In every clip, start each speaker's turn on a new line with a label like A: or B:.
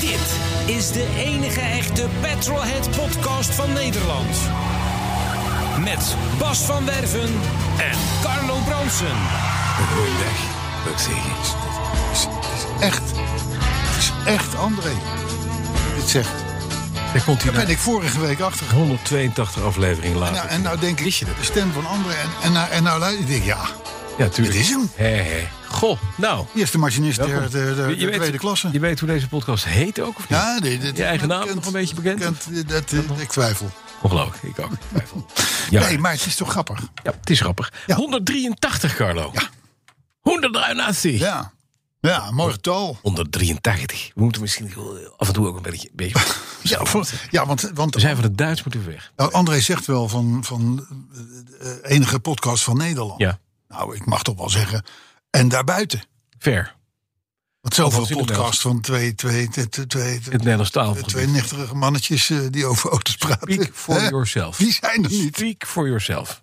A: Dit is de enige echte Petrolhead podcast van Nederland. Met Bas van Werven en Carlo Bronsen.
B: Goeiedag, wil ik zeggen. Het is- het is echt, het is echt André. Dit zegt.
C: Daar komt hij
B: Daar
C: naar.
B: ben ik vorige week achter. gekomen.
C: 182 afleveringen later.
B: Nou, en nou denk ik,
C: Wist je dat?
B: de stem van André. En, en, nou- en nou luister ik, denk, ja,
C: Ja, tuurlijk.
B: dit nou, is hem.
C: Hé, hé. Goh, nou.
B: hier is de machinist der,
C: welkom.
B: der- der- der
C: Je- je weet-
B: tweede klasse.
C: Je weet hoe deze podcast heet ook, of niet?
B: ja, dit, dit-
C: Je eigen naam
B: bekend,
C: nog een beetje bekend?
B: bekend, dat, eh, ik twijfel.
C: Ongelooflijk, ik ook. Twijfel. Ja,
B: Nee, maar het is toch grappig.
C: ja, het is grappig.
B: Ja.
C: 183, Carlo.
B: Ja.
C: 183.
B: Ja, ja mooi getal.
C: 183. We moeten misschien eh, af en toe ook een beetje... een beetje
B: Ja, voor- ja want, want
C: we zijn van het Duits moeten we weg.
B: nou, André zegt wel van, van eh, eh, enige podcast van Nederland.
C: Ja,
B: Nou, ik mag toch wel zeggen. En daarbuiten.
C: ver.
B: Want zoveel
C: Althans, in de
B: podcasts van twee, twee, twee, twee, twee,
C: In het Nederlands taalgebied.
B: twee nichterige mannetjes eh, die over auto's praten.
C: Speak for
B: Hè?
C: yourself.
B: Die zijn er niet.
C: Speak for yourself.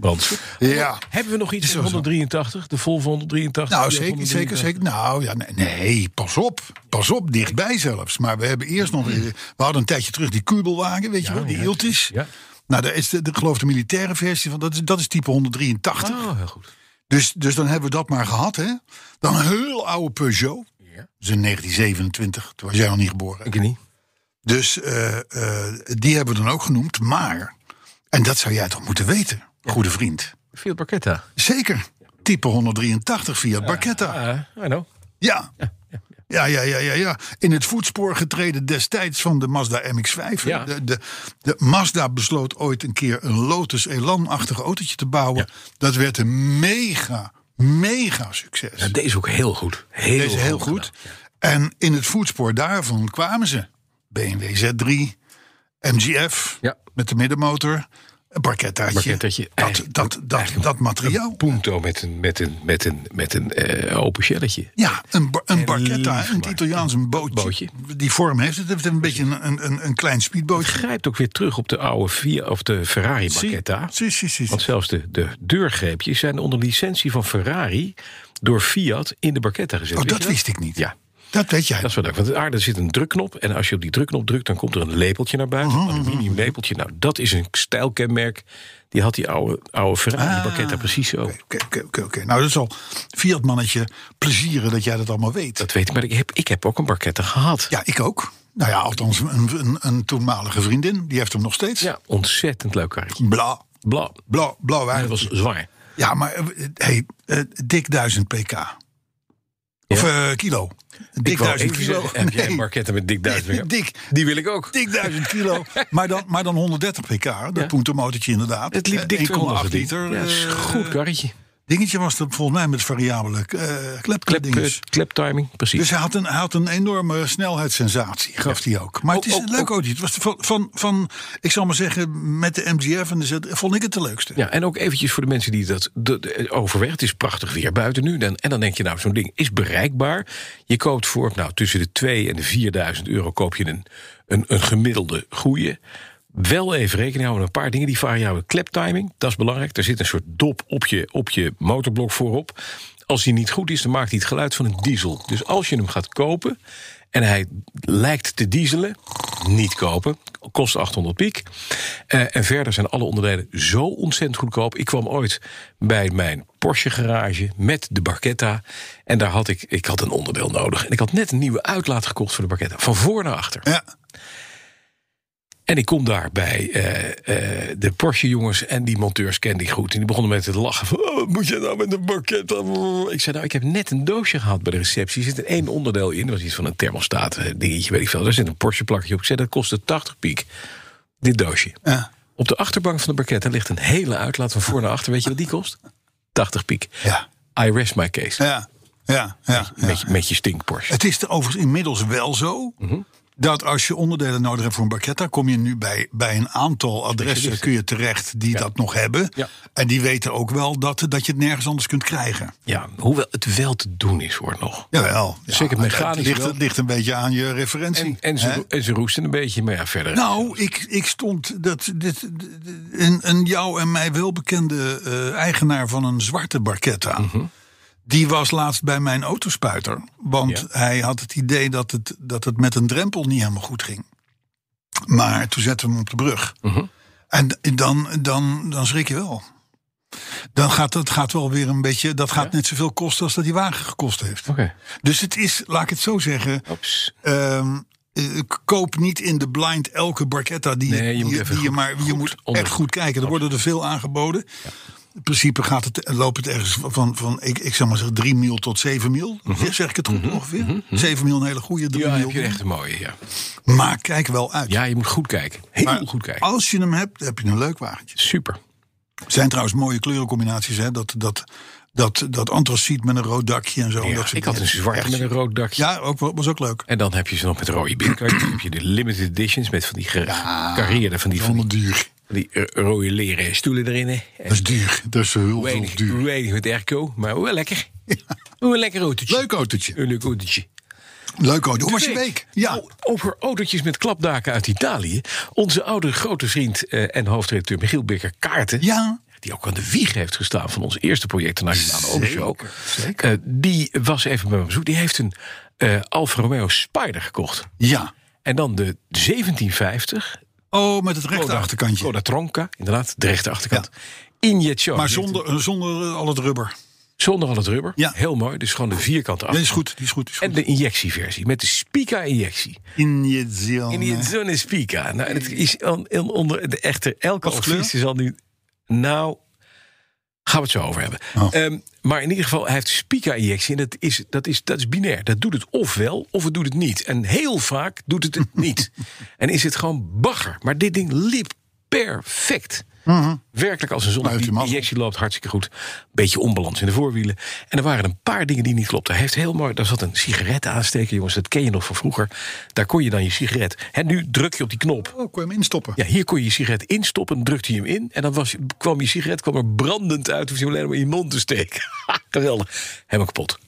C: Brandsen.
B: Ja. Nou,
C: Hebben we nog iets van
B: Sowieso.
C: 183? De vol van 183?
B: Nou,
C: die van 183?
B: zeker, zeker, zeker. Nou, ja, nee, nee, pas op. Pas op, dichtbij zelfs. Maar we hebben eerst nog... We hadden een tijdje terug die kubelwagen, weet je
C: Ja,
B: wel, die
C: ja.
B: Iltis.
C: Ja.
B: Nou, daar is de, de, geloof de militaire versie van, dat is, dat is type 183.
C: Oh, heel goed.
B: Dus, dus dan hebben we dat maar gehad, hè. Dan een heel oude Peugeot.
C: Ja.
B: Dat is in 1927, toen was jij nog niet geboren.
C: Ik niet.
B: Dus eh, eh, die hebben we dan ook genoemd. Maar, en dat zou jij toch moeten weten, goede vriend.
C: Fiat Barchetta.
B: Zeker. Type 183 Fiat Barchetta.
C: Ah, I know.
B: Ja. Ja, ja, ja, ja, ja. In het voetspoor getreden destijds van de Mazda MX-5.
C: Ja.
B: De, de, de Mazda besloot ooit een keer een Lotus Elan-achtig autootje te bouwen. Dat werd een mega, mega succes.
C: Ja, deze ook heel goed. Heel
B: Deze heel goed. En in het voetspoor daarvan kwamen ze. BMW Z3, MGF
C: Ja.
B: met de middenmotor, een parkettaatje.
C: Barkettaatje.
B: Dat,
C: Eigenlijk-
B: dat, dat, dat materiaal.
C: Punto met een, met een, met een, met een eh, open shelletje.
B: Ja, een, ba- een barketta,
C: lief
B: een
C: gemaakt.
B: Italiaans een bootje.
C: Bootje.
B: Die vorm heeft het. Het heeft een beetje een, een- een, een klein speedbootje.
C: Grijpt ook weer terug op de oude Fiat, of de Ferrari Barchetta.
B: Zie, zie, zie, zie.
C: Want zelfs de, de deurgreepjes zijn onder licentie van Ferrari door Fiat in de Barchetta gezet.
B: Oh,
C: Weet
B: dat
C: je
B: wist ik niet.
C: Ja.
B: Dat weet jij.
C: Dat is wel leuk, want daar daar zit een drukknop. En als je op die drukknop drukt, dan komt er een lepeltje naar buiten.
B: Mhm.
C: Een aluminium lepeltje. Nou, dat is een stijlkenmerk. Die had die oude, oude Ferrari Barchetta precies zo.
B: Ah. Oké, oké, oké, oké. Nou, dat zal Fiat-mannetje plezieren dat jij dat allemaal weet.
C: Dat weet ik, maar ik heb, ik heb ook een Barchetta gehad.
B: Ja, ik ook. Nou ja, althans, een, een, een toenmalige vriendin. Die heeft hem nog steeds.
C: Ja, ontzettend leuk karretje.
B: Bla,
C: Bla,
B: bla, bla.
C: dat was zwaar.
B: Ja, maar eh, hey, eh, dik 1000 pk. Of eh, kilo. Dik
C: wou
B: 1000
C: even
B: kilo.
C: zeggen, Heb jij een
B: Nee,
C: Barchetta met dik duizend? pk?
B: dik,
C: Die wil ik ook.
B: dik 1000 kilo. maar, dan, maar dan 130 pk. Dat
C: Ja.
B: punto motortje inderdaad.
C: Het liep
B: Eh,
C: dik
B: 1,8 liter.
C: Ja, dat is een
B: eh,
C: goed karretje.
B: dingetje was dat volgens mij met variabele eh
C: Klep,
B: klepdinges.
C: eh, kleptiming, precies.
B: Dus hij had een, hij had een enorme snelheidssensatie, gaf hij ook. Maar het is
C: Ook-
B: een
C: ook-
B: leuk autootje. Het was van, van, van, ik zal maar zeggen, met de MGF en de Z, vond ik het de leukste.
C: Ja, en ook eventjes voor de mensen die dat de, de- overwegen. Het is prachtig weer buiten nu. Dan, en dan denk je, nou, zo'n ding is bereikbaar. Je koopt voor, nou, tussen de 2 en de 4000 euro koop je een, een, een gemiddelde goede. Wel even rekening houden met een paar dingen. Die variabele kleptiming, dat is belangrijk. Er zit een soort dop op je, op je motorblok voorop. Als die niet goed is, dan maakt hij het geluid van een diesel. Dus als je hem gaat kopen en hij lijkt te dieselen, niet kopen. Kost 800 piek. Eh, en verder zijn alle onderdelen zo ontzettend goedkoop. Ik kwam ooit bij mijn Porsche garage met de Barchetta. En daar had ik, ik had een onderdeel nodig. En ik had net een nieuwe uitlaat gekocht voor de Barchetta. Van voor naar achter.
B: Ja.
C: En ik kom daar bij eh, eh, de Porsche-jongens en die monteurs kenden die goed. En die begonnen met het lachen van, "Oh, wat moet je nou met een bakket? Ik zei, nou, ik heb net een doosje gehad bij de receptie. Er zit er één onderdeel in, dat was iets van een thermostaat eh, dingetje, weet ik veel. Daar zit een Porsche-plakje op. Ik zei, dat kostte 80 piek, dit doosje.
B: Ja.
C: Op de achterbank van de bakket daar ligt een hele uitlaat van voor naar achter. Weet je wat die kost? 80 piek.
B: Ja.
C: I rest my case.
B: Ja, ja, ja. ja.
C: Met, je- met je stinkporsche.
B: Het is er overigens inmiddels wel zo.
C: Mhm.
B: Dat als je onderdelen nodig hebt voor een bakket, dan kom je nu bij, bij een aantal adressen kun je terecht die dat nog hebben.
C: Ja.
B: En die weten ook wel dat, dat je het nergens anders kunt krijgen.
C: Ja, hoewel het wel te doen is, hoor, nog.
B: Jawel. Ja,
C: Zeker
B: maar
C: mechanisch
B: Het ligt,
C: wel.
B: het ligt een beetje aan je referentie.
C: En, en,
B: hè?
C: ze, en ze roesten een beetje, maar ja, verder.
B: Nou, ik, ik stond. Dat, dit, een, een jou en mij welbekende eh, eigenaar van een zwarte barquetta.
C: Mhm.
B: Die was laatst bij mijn autospuiter. Want
C: Ja.
B: hij had het idee dat het, dat het met een drempel niet helemaal goed ging. Maar toen zetten we hem op de brug.
C: Mhm.
B: En dan, dan, dan schrik je wel. Dan gaat dat gaat wel weer een beetje. Dat gaat net zoveel kosten als dat die wagen gekost heeft.
C: Oké.
B: Dus het is, laat ik het zo zeggen.
C: Ops.
B: Ehm, eh, k- koop niet in de blind elke barquetta die,
C: Nee, je moet
B: die,
C: even
B: die je
C: goed-
B: maar je
C: goed
B: moet echt
C: onderzoeken.
B: goed kijken. Er worden er veel aangeboden. In principe gaat het, loopt het ergens van, van ik, ik zou maar zeggen, 3 mil tot 7 mil.
C: Mhm.
B: Zeg ik het goed ongeveer? 7 mil een hele goede, 3
C: Ja, heb
B: mil.
C: je echt een mooie, ja.
B: Maar kijk wel uit.
C: Ja, je moet goed kijken. Heel
B: Maar
C: goed kijken.
B: Als je hem hebt, heb je een leuk wagentje.
C: Super.
B: Er zijn trouwens mooie kleurencombinaties. Hè? Dat, dat, dat, dat antraciet met een rood dakje en zo.
C: Ja,
B: dat soort
C: ik had een
B: dingen.
C: zwart
B: Echt.
C: met een rood dakje.
B: Ja, ook, wel- was ook leuk.
C: En dan heb je ze nog met rode binnenkant. Dan heb je de limited editions met van die gecarrierde, van die, van die,
B: Allemaal duur.
C: van die eh, rode leren stoelen erin. hè.
B: Dat is duur. Dat is heel veel
C: Weinig,
B: duur.
C: weinig met airco, maar wel lekker. Wel Een lekker autootje.
B: Leuk autootje.
C: Een leuk autootje.
B: Leuk auto. Hoe was je week? Ja.
C: Nou, over autootjes met klapdaken uit Italië. Onze oude grote vriend eh, en hoofdredacteur Michiel Bikker Kaarten.
B: Ja.
C: Die ook aan de wieg heeft gestaan van ons eerste project, de Nationale Autoshow. Eh, die was even bij me op bezoek. Die heeft een eh Alfa Romeo Spider gekocht.
B: Ja.
C: En dan de 1750.
B: Oh, met het rechte achterkantje.
C: Coda Tronca, inderdaad, de rechte achterkant. Injection.
B: Maar zonder, eh, zonder eh, al het rubber.
C: Zonder al het rubber.
B: Ja.
C: Heel mooi. Dus gewoon de vierkante
B: Die
C: achter.
B: is goed. Die is goed. Die is
C: En
B: goed.
C: de injectieversie. Met de Spica-injectie.
B: Injezione.
C: In die zone Spica. Nou, en het is on- on- onder de echte elke
B: Wat voor kleur?
C: officier zal nu. Nou, gaan we het zo over hebben.
B: Oh.
C: Ehm, maar in ieder geval, hij heeft Spica-injectie. En dat is, dat, is, dat is binair. Dat doet het ofwel, of het doet het niet. En heel vaak doet het het niet. en is het gewoon bagger. Maar dit ding liep perfect. Werkelijk als een zon.
B: Maar Mhm. Nou, heeft
C: Die
B: hij mazzel.
C: injectie loopt hartstikke goed. Beetje onbalans in de voorwielen. En er waren een paar dingen die niet klopten. Hij heeft heel mooi. Daar zat een sigaret aansteken, jongens. Dat ken je nog van vroeger. Daar kon je dan je sigaret. En nu druk je op die knop.
B: Oh, kon je hem instoppen?
C: Ja, hier kon je je sigaret instoppen. Dan drukte je hem in. En dan was, kwam je sigaret kwam er brandend uit. Hoef je hem alleen maar in je mond te steken. Geweldig. Helemaal kapot.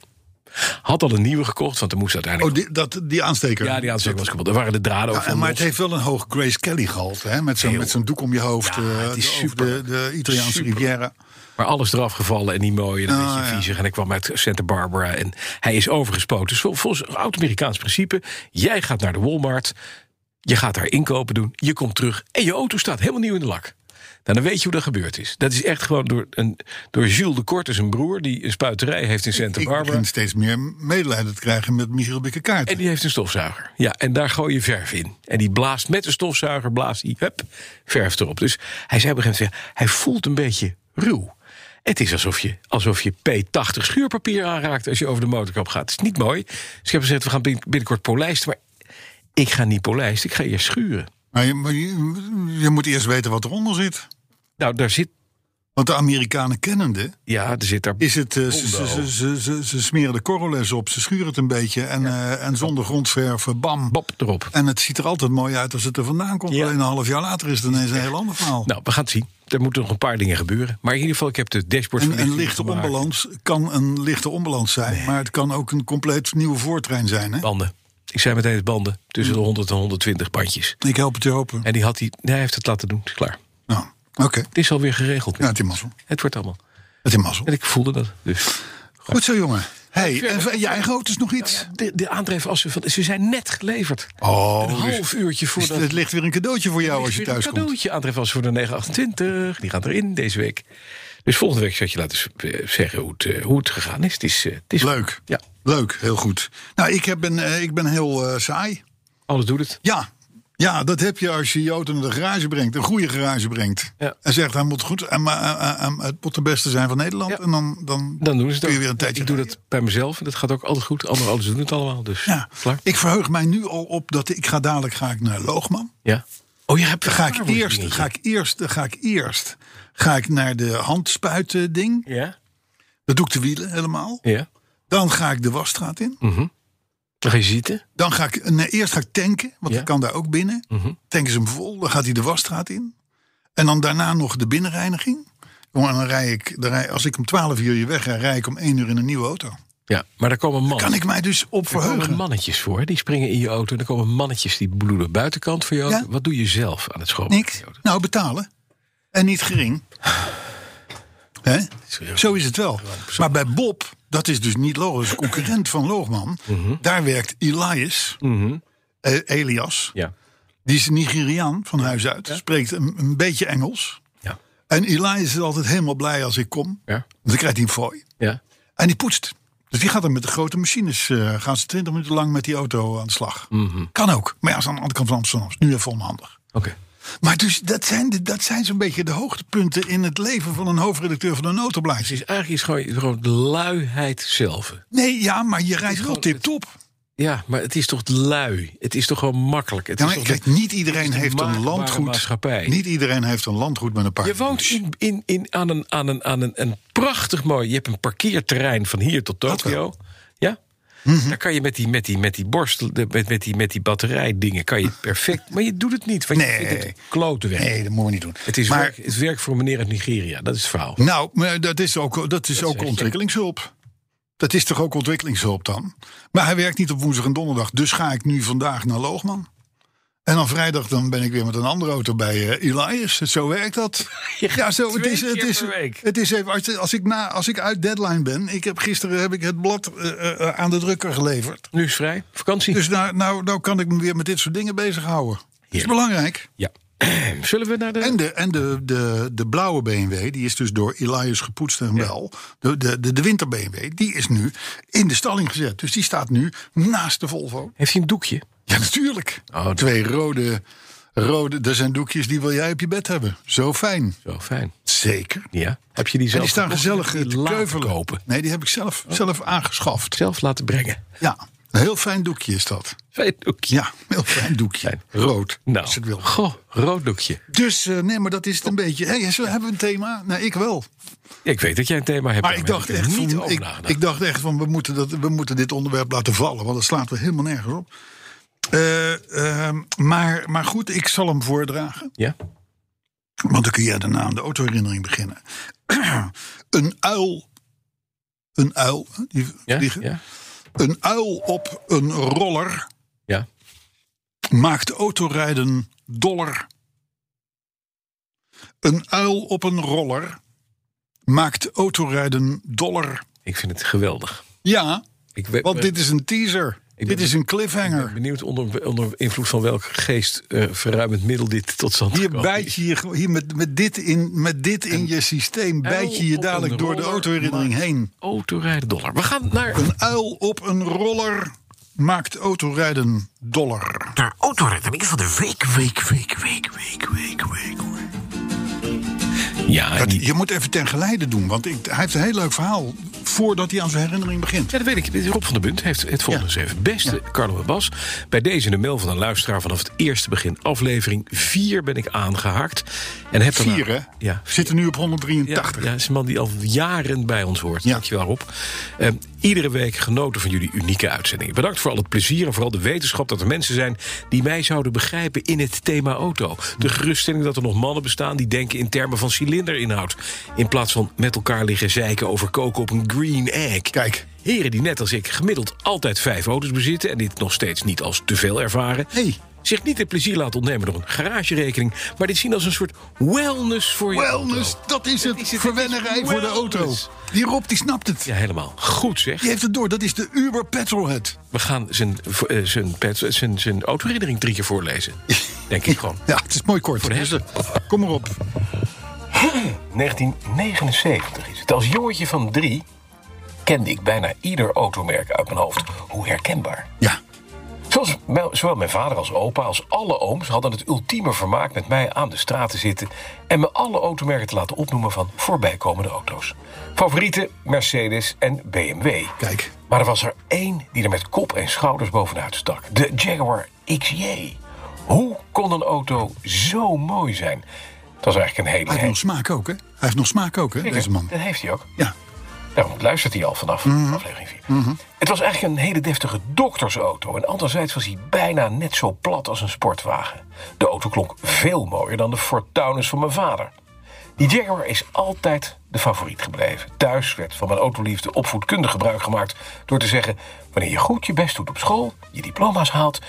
C: Had al een nieuwe gekocht, want er moest uiteindelijk.
B: Oh, die, dat, die aansteker.
C: ja, die aansteker was kapot. Er waren de draden ook
B: Ja,
C: van
B: maar het
C: los.
B: heeft wel een hoog Grace Kelly gehalte. Hè? Met zo'n
C: Heel.
B: met zo'n doek om je hoofd.
C: Ja,
B: eh,
C: het is
B: over
C: super.
B: De, de Italiaanse
C: Super.
B: Riviera.
C: Maar alles eraf gevallen en niet mooi. En een
B: Ah,
C: beetje
B: ja.
C: viezig. En hij kwam uit Santa Barbara. En hij is overgespoten. Dus vol- volgens oud-Amerikaans principe. Jij gaat naar de Walmart. Je gaat daar inkopen doen. Je komt terug. En je auto staat helemaal nieuw in de lak. Nou, dan weet je hoe dat gebeurd is. Dat is echt gewoon door, een, door Jules de Korte, zijn broer. Die een spuiterij heeft in Santa
B: Ik
C: Barbara.
B: begin steeds meer medelijden te krijgen met Michiel Bikkekaart.
C: En die heeft een stofzuiger. Ja, en daar gooi je verf in. En die blaast met de stofzuiger, blaast die hup, verf erop. Dus hij zei op een gegeven moment, hij voelt een beetje ruw. Het is alsof je, alsof je P80 schuurpapier aanraakt als je over de motorkap gaat. Het is niet mooi. Dus ik heb gezegd, we gaan bin- binnenkort polijsten. Maar ik ga niet polijsten, ik ga eerst schuren.
B: Maar, je, maar je, je moet eerst weten wat eronder zit.
C: Nou, daar zit,
B: Want de Amerikanen kennende.
C: ja, er zit daar...
B: Is het, eh, ze,
C: Hondo.
B: ze, ze, ze, ze- ze smeren de korrelers op, ze schuren het een beetje en, eh, en zonder grondverven, bam.
C: Bob erop.
B: En het ziet er altijd mooi uit als het er vandaan komt.
C: Ja.
B: Alleen een half jaar later is het ineens een heel ander verhaal.
C: Nou, we gaan het zien. Er moeten nog een paar dingen gebeuren. Maar in ieder geval, ik heb de dashboard...
B: een, een lichte onbalans kan een lichte onbalans zijn, maar het kan ook een compleet nieuwe voortrein zijn. Hè?
C: Banden. Ik zei meteen het banden. Tussen de 100 en 120 bandjes.
B: Ik help het je hopen.
C: En die had hij, nee, hij heeft het laten doen. Het is klaar.
B: Nou, oké.
C: Het is alweer geregeld.
B: Ja, het is mazzel.
C: Het wordt allemaal.
B: Het is mazzel.
C: En ik voelde dat. Dus.
B: Goed zo, jongen. Hey, en v- je eigen auto is nog iets?
C: De, de aandrijfassen van. Ze zijn net geleverd.
B: Oh,
C: een
B: dus-
C: half uurtje
B: dus
C: voordat.
B: het ligt weer een cadeautje voor jou als je
C: weer een
B: thuis komt.
C: cadeautje aandrijfassen voor de 928. Die gaan erin deze week. Dus volgende week zal ik je laten z- eh, zeggen hoe het, eh, hoe het gegaan is. Het is, eh, het is
B: Leuk.
C: Ja,
B: Leuk, heel goed. Nou, ik, heb een, eh, ik ben heel eh, saai.
C: alles doet het.
B: Ja, Ja, dat heb je als je Jood in de garage brengt. Een goede garage brengt.
C: Ja.
B: En zegt, hij moet goed, en, maar, eh, eh, eh, het moet de beste zijn van Nederland.
C: Ja.
B: En dan, dan,
C: Dan doen ze het
B: kun je
C: ook.
B: weer een tijdje
C: Ik doe
B: rijden.
C: dat bij mezelf en dat gaat ook altijd goed. Andere ouders doen het allemaal, dus
B: Ja.
C: klaar.
B: Ik verheug mij nu al op dat ik ga dadelijk ga ik naar Loogman.
C: Ja. Oh, je hebt
B: Dan ga ik
C: Daar wordt het
B: eerst,
C: dingetje.
B: ga ik eerst, dan ga ik eerst, ga ik naar de handspuiten ding.
C: Ja?
B: Dat doe ik de wielen helemaal.
C: Ja.
B: Dan ga ik de wasstraat in.
C: Dan ga je zitten.
B: Dan ga ik, nee, eerst ga ik tanken, want
C: Ja.
B: ik kan daar ook binnen. Tanken ze hem vol, dan gaat hij de wasstraat in. En dan daarna nog de binnenreiniging. Kom, en dan rij ik, dan rij, als ik om 12 uur hier weg ga, rij ik om 1 uur in een nieuwe auto.
C: Ja, maar daar komen mannen.
B: Kan Oh. ik mij dus op
C: Er komen
B: verheugen.
C: mannetjes voor, die springen in je auto. En er komen mannetjes die bloeden buitenkant voor je auto.
B: Ja.
C: Wat doe je zelf aan het schoonmaken?
B: Niks.
C: van je auto?
B: Nou, betalen. En niet gering. Hè? Zo is het wel. Maar bij Bob, dat is dus niet logisch. een concurrent van Loogman. Daar werkt Elias, eh, Elias.
C: Ja.
B: Die is Nigeriaan van huis uit. Spreekt een, een beetje Engels.
C: Ja.
B: En Elias is altijd helemaal blij als ik kom. Want
C: Ja.
B: dan krijgt hij een fooi.
C: Ja.
B: En die poetst. Dus die gaat dan met de grote machines. eh, gaan ze 20 minuten lang met die auto aan de slag.
C: Mhm.
B: Kan ook. Maar ja, is aan de andere kant van Amsterdam. Is nu even onhandig.
C: Oké.
B: Maar dus, dat zijn, de- dat zijn zo'n beetje de hoogtepunten in het leven van een hoofdredacteur van een Dus,
C: Het
B: notenblaadje.
C: is eigenlijk is gewoon, gewoon de luiheid zelf.
B: Nee, ja, maar je rijdt wel tip-top.
C: Ja, maar het is toch lui? Het is toch gewoon makkelijk? Het
B: Ja,
C: is
B: maar
C: toch
B: kijk,
C: de-
B: niet
C: het
B: iedereen
C: is de
B: heeft een
C: maakbare
B: landgoed.
C: Maatschappij.
B: Niet iedereen heeft een landgoed met een paar.
C: je woont
B: kinderen.
C: in, in, in, aan, een, aan, een, aan een, een prachtig mooi... Je hebt een parkeerterrein van hier tot
B: Dat
C: Tokio.
B: wel. Mhm.
C: Ja? Daar kan je met die, met die, met die borst, de- met, met die, met die batterijdingen... kan je perfect... maar je doet het niet, want je
B: Nee.
C: vindt het klote werk.
B: Nee, dat moeten we niet doen.
C: Het is
B: maar,
C: werk, het werk voor meneer uit Nigeria, dat is het verhaal.
B: Nou, maar dat is ook, dat is ook
C: zeg je.
B: ontwikkelingshulp. Dat is toch ook ontwikkelingshulp dan? Maar hij werkt niet op woensdag en donderdag. Dus ga ik nu vandaag naar Loogman. En dan vrijdag dan ben ik weer met een andere auto bij eh, Elias. Zo werkt dat. Ja, zo. Het
C: twee
B: is, het
C: keer
B: is,
C: per week.
B: het is even. Als, als, ik na, als ik uit deadline ben. Ik heb, gisteren heb ik het blad eh, eh, aan de drukker geleverd.
C: Nu is vrij, vakantie.
B: Dus nou, nou, nou kan ik me weer met dit soort dingen bezighouden. Dat is
C: Heerlijk.
B: belangrijk.
C: Ja. Zullen we naar de...
B: En, de, en de, de, de blauwe BMW, die is dus door Elias gepoetst en wel. De, de, de, de winter BMW, die is nu in de stalling gezet. Dus die staat nu naast de Volvo.
C: Heeft hij een doekje?
B: Ja, natuurlijk.
C: Oh, dat-
B: Twee rode, rode, dat zijn doekjes die wil jij op je bed hebben. Zo fijn.
C: Zo, fijn.
B: Zeker.
C: Ja. Heb je die
B: En
C: zelf
B: die staan
C: gekocht of
B: gezellig eh,
C: heb je die
B: te
C: laten
B: keuvelen.
C: kopen? Oh.
B: Nee, die heb ik zelf, zelf aangeschaft.
C: Zelf laten brengen.
B: Ja, een heel fijn doekje is dat.
C: Fijn doekje.
B: Ja, een heel fijn doekje.
C: Fijn.
B: Rood,
C: Nou, Oh.
B: als je het wil.
C: goh, rood doekje.
B: Dus, eh, nee, maar dat is het een beetje. Hey, zo hebben we een thema? Nou, ik wel.
C: Ja, ik weet dat jij een thema hebt.
B: Maar ik dacht,
C: heb er
B: echt
C: niet
B: van,
C: over
B: ik,
C: nagedacht.
B: ik dacht echt van, we moeten, dat, we moeten dit onderwerp laten vallen. Want dat slaat we helemaal nergens op. Eh, ehm, maar, maar goed, ik zal hem voordragen.
C: Ja?
B: Want dan kun je daarna aan de autoherinnering beginnen. een uil. Een uil. hè, Die
C: Ja?
B: vliegen.
C: Ja?
B: Een uil op een roller
C: ja?
B: maakt autorijden doller. Een uil op een roller maakt autorijden doller.
C: Ik vind het geweldig.
B: Ja,
C: Ik ben,
B: Want dit is een teaser.
C: ben-
B: dit is een
C: ik ben
B: cliffhanger.
C: benieuwd onder, onder invloed van welk geest eh, verruimend middel dit tot stand
B: Hier
C: gekomen
B: bijt
C: is.
B: je je gewoon- hier met, met, dit in, met dit in je systeem bijt je je
C: op een
B: dadelijk door de
C: roller
B: autoherinnering
C: maakt-
B: heen.
C: Autorijden dollar. We gaan naar...
B: Een uil op een roller maakt autorijden dollar.
D: De autoherinnering van de week, week, week, week, week, week, week.
C: Ja, en
B: Dat-
C: die-
B: je moet even ten geleide doen, want ik, hij heeft een heel leuk verhaal voordat hij aan zijn herinnering begint.
C: Ja, dat weet ik. Dit is Rob van der Bunt heeft het volgende
B: Ja.
C: geschreven. Beste Carlo en Bas, bij deze een mail van een luisteraar vanaf het eerste begin aflevering 4 ben ik aangehaakt. En heb daarna-
B: Vier, hè?
C: Ja.
B: We zitten nu op
C: Ja,
B: 183.
C: ja, dat is een man die al jaren bij ons hoort.
B: Ja.
C: Dankjewel Rob. Eh, iedere week genoten van jullie unieke uitzendingen. Bedankt voor al het plezier en vooral de wetenschap dat er mensen zijn... die mij zouden begrijpen in het thema auto. De geruststelling dat er nog mannen bestaan die denken in termen van cilinderinhoud... in plaats van met elkaar liggen zeiken over koken op een green egg.
B: Kijk.
C: Heren die net als ik gemiddeld altijd vijf auto's bezitten... en dit nog steeds niet als te veel ervaren...
B: Hey.
C: zich niet het plezier laten ontnemen door een garagerekening... maar dit zien als een soort wellness voor je auto.
B: Wellness, dat is het.
C: is het.
B: Verwennerij voor de auto.
C: Wellness.
B: Die Rob, die snapt het.
C: Ja, helemaal. Goed zeg.
B: Die heeft het door. Dat is de Uber Petrolhead.
C: We gaan zijn, v- eh, zijn, pet- zijn, zijn autoherinnering drie keer voorlezen. Denk ik gewoon.
B: Ja, het is mooi kort.
C: de
B: Dus,
C: hersen.
B: eh, kom maar op.
C: 1979 is het. Als jongetje van drie kende ik bijna ieder automerk uit mijn hoofd. Hoe herkenbaar.
B: Ja.
C: Zo was, mijn- zowel mijn vader als opa als alle ooms hadden het ultieme vermaak met mij aan de straat te zitten en me alle automerken te laten opnoemen van voorbijkomende auto's. Favorieten Mercedes en BMW.
B: Kijk.
C: Maar er was er één die er met kop en schouders bovenuit stak. De Jaguar XJ. Hoe kon een auto zo mooi zijn? Dat is eigenlijk een hele...
B: Hij heeft nog smaak ook, hè? Hij heeft nog smaak ook, hè, deze man.
C: Dat heeft hij ook.
B: Ja.
C: Daarom luistert hij al vanaf aflevering 4. Het was eigenlijk een hele deftige doktersauto. En anderzijds was hij bijna net zo plat als een sportwagen. De auto klonk veel mooier dan de Ford Taunus van mijn vader. Die Jaguar is altijd de favoriet gebleven. Thuis werd van mijn autoliefde opvoedkundig gebruik gemaakt... door te zeggen, wanneer je goed je best doet op school... je diploma's haalt,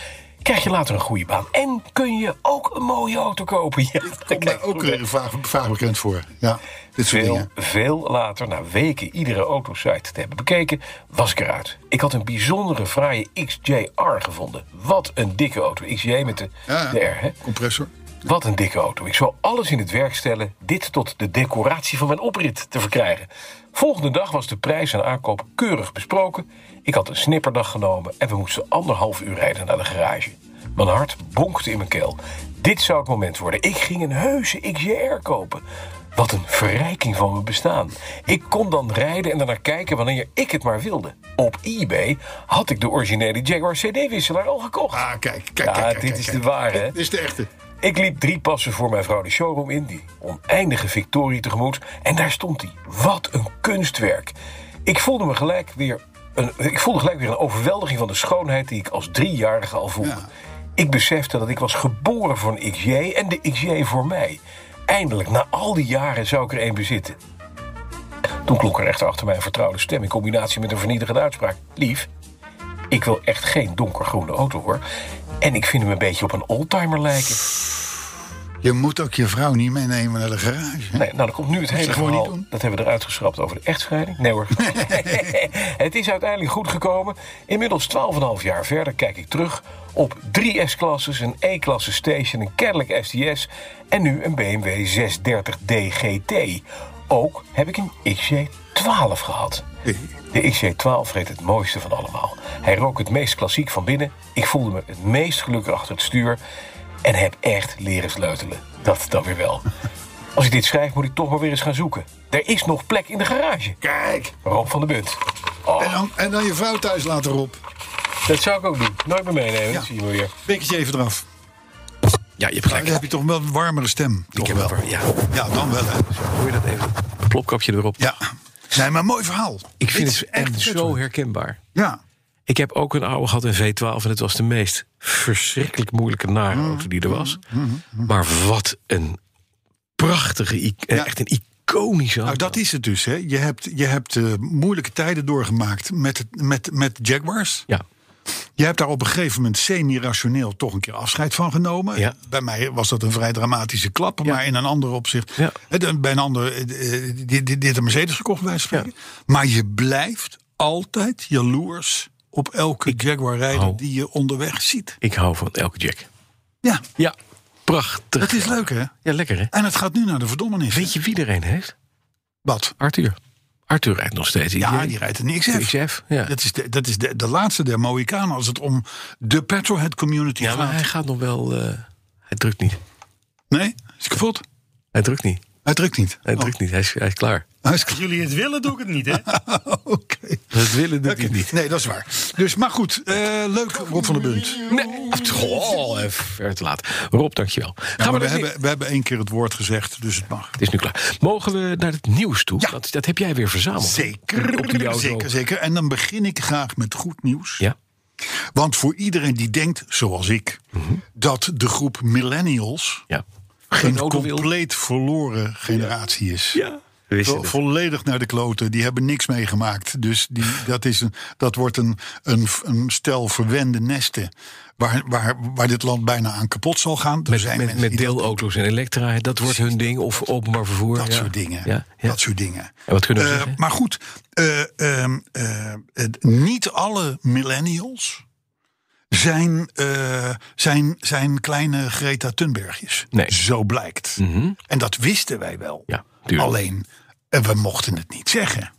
C: krijg je later een goede baan... en kun je ook een mooie auto kopen. Ja,
E: Komt mij
C: kijk,
E: ook weer vaag, vaag bekend voor. Ja, dit soort
C: veel,
E: dingen.
C: veel later, na weken iedere autosite te hebben bekeken, was ik eruit. Ik had een bijzondere fraaie XJR gevonden. Wat een dikke auto. XJ met de,
E: Ja,
C: de
E: ja.
C: R, hè?
E: Compressor.
C: Wat een dikke auto. Ik zou alles in het werk stellen dit tot de decoratie van mijn oprit te verkrijgen. Volgende dag was de prijs en aankoop keurig besproken. Ik had een snipperdag genomen en we moesten anderhalf uur rijden naar de garage. Mijn hart bonkte in mijn keel. Dit zou het moment worden. Ik ging een heuse XJR kopen. Wat een verrijking van mijn bestaan. Ik kon dan rijden en daarnaar kijken wanneer ik het maar wilde. Op eBay had ik de originele Jaguar CD-wisselaar al gekocht.
E: Ah, kijk, kijk,
C: Ja,
E: kijk, kijk,
C: dit
E: kijk,
C: is
E: kijk.
C: de ware, hè?
E: Dit is de echte.
C: Ik liep drie passen voor mijn vrouw de showroom in, die oneindige victorie tegemoet. En daar stond hij. Wat een kunstwerk. Ik voelde me gelijk weer een, ik voelde gelijk weer een overweldiging van de schoonheid die ik als driejarige al voelde. Ik besefte dat ik was geboren voor een XJ en de XJ voor mij. Eindelijk, na al die jaren, zou ik er een bezitten. Toen klonk er echt achter mij een vertrouwde stem in combinatie met een vernietigende uitspraak. Lief, ik wil echt geen donkergroene auto hoor. En ik vind hem een beetje op een oldtimer lijken.
E: Je moet ook je vrouw niet meenemen naar de garage. hè?
C: Nee, nou, dan komt nu het hele
E: gewoon niet
C: verhaal.
E: doen?
C: Dat hebben we eruit geschrapt over de echtscheiding. Nee hoor. het is uiteindelijk goed gekomen. Inmiddels 12,5 jaar verder kijk ik terug op drie S-klasses, een E-klasse station, een Cadillac STS en nu een BMW 630 DGT. Ook heb ik een XJ12 gehad. De XJ12 reed het mooiste van allemaal. Hij rook het meest klassiek van binnen. Ik voelde me het meest gelukkig achter het stuur. En heb echt leren sleutelen. Dat dan weer wel. Als ik dit schrijf, moet ik toch maar weer eens gaan zoeken. Er is nog plek in de garage.
E: Kijk.
C: Rob van de Bunt. Oh.
E: En dan, en dan je vrouw thuis laten op.
C: Dat zou ik ook doen. Nooit meer meenemen. Dat zie je maar weer.
B: Bekertje even eraf.
F: Ja, je hebt
B: Dan
F: gelijk.
B: heb je toch wel een warmere stem. Toch
F: heb
B: wel.
F: een- ja.
B: ja, dan wel, hè.
F: Hoor je dat even? Plopkapje erop.
B: Ja. Nee, maar mooi verhaal.
F: Ik
B: Dit
F: vind
B: is
F: het echt zo herkenbaar.
B: Ja.
F: Ik heb ook een oude gehad in V12 en het was de meest verschrikkelijk moeilijke nare
B: Mm-hmm.
F: auto die er was. Maar wat een prachtige, i- en
B: Ja.
F: echt een iconische auto.
B: Nou, dat is het dus. Hè. Je hebt, je hebt eh, moeilijke tijden doorgemaakt met, het- met, met Jaguars.
F: Ja,
B: Je hebt daar op een gegeven moment semi-rationeel toch een keer afscheid van genomen.
F: Ja.
B: Bij mij was dat een vrij dramatische klap, maar in een ander opzicht.
F: Ja.
B: hè, de- Bij een ander, eh, eh, die- die dit een Mercedes gekocht, bij wijze van spreken. Maar je blijft altijd jaloers op elke Jaguar-rijder
F: hou-
B: die je onderweg ziet.
F: ik hou van elke jack.
B: Ja,
F: Ja, prachtig.
B: dat is leuk hè.
F: Ja, lekker hè?
B: En het gaat nu naar de verdommenis.
F: Weet je wie er een heeft?
B: wat?
F: Arthur. Arthur rijdt nog steeds.
B: Ja, die rijdt een XF.
F: XF, ja.
B: Dat is, de, dat is de, de laatste der Mohikanen als het om de petrolhead community
F: ja, maar
B: gaat.
F: hij gaat nog wel... eh, hij drukt niet.
B: Nee, is kapot.
F: Hij drukt niet.
B: Hij drukt niet.
F: Hij
B: Oh,
F: drukt niet. Hij is, hij is klaar.
B: hij is kapot.
G: Jullie het willen, doe ik het niet, hè?
B: Oké.
F: Dat willen doet hij
B: Oké.
F: niet.
B: Nee, dat is waar. Dus, maar goed, eh, leuk Rob van der Bunt.
F: Nee. Goh, eh, ver te laat. Rob, dankjewel.
G: dus
F: Gaan
B: maar
F: we
B: we,
F: naar het
B: hebben, we hebben één keer het woord gezegd, dus het mag.
F: Het is nu klaar. Mogen we naar het nieuws toe? Dat, dat heb jij weer verzameld. Op die auto.
B: zeker, zeker. En dan begin ik graag met goed nieuws.
F: Ja.
B: Want voor iedereen die denkt, zoals ik,
F: Mhm.
B: dat de groep millennials
F: ja.
B: een
F: auto wil.
B: compleet verloren generatie is.
F: Ja. We wisten
B: Vo-
F: het.
B: volledig naar de kloten. Die hebben niks meegemaakt. Dus die, dat, is een, dat wordt een, een, een stel verwende nesten. Waar, waar, waar dit land bijna aan kapot zal gaan. Er zijn
F: Met,
B: mensen
F: met
B: die dat-
F: deelauto's en elektra, dat wordt hun ding. Of openbaar vervoer.
B: dat
F: ja.
B: soort dingen.
F: Ja, ja.
B: Dat soort dingen.
F: En wat kunnen we
B: Eh,
F: zeggen?
B: maar goed, eh, ehm, eh, het- niet alle millennials zijn, eh, zijn, zijn kleine Greta Thunbergjes.
F: Nee. Mhm.
B: Zo blijkt. En dat wisten wij wel.
F: Ja, tuurlijk.
B: Alleen, eh, we mochten het niet zeggen.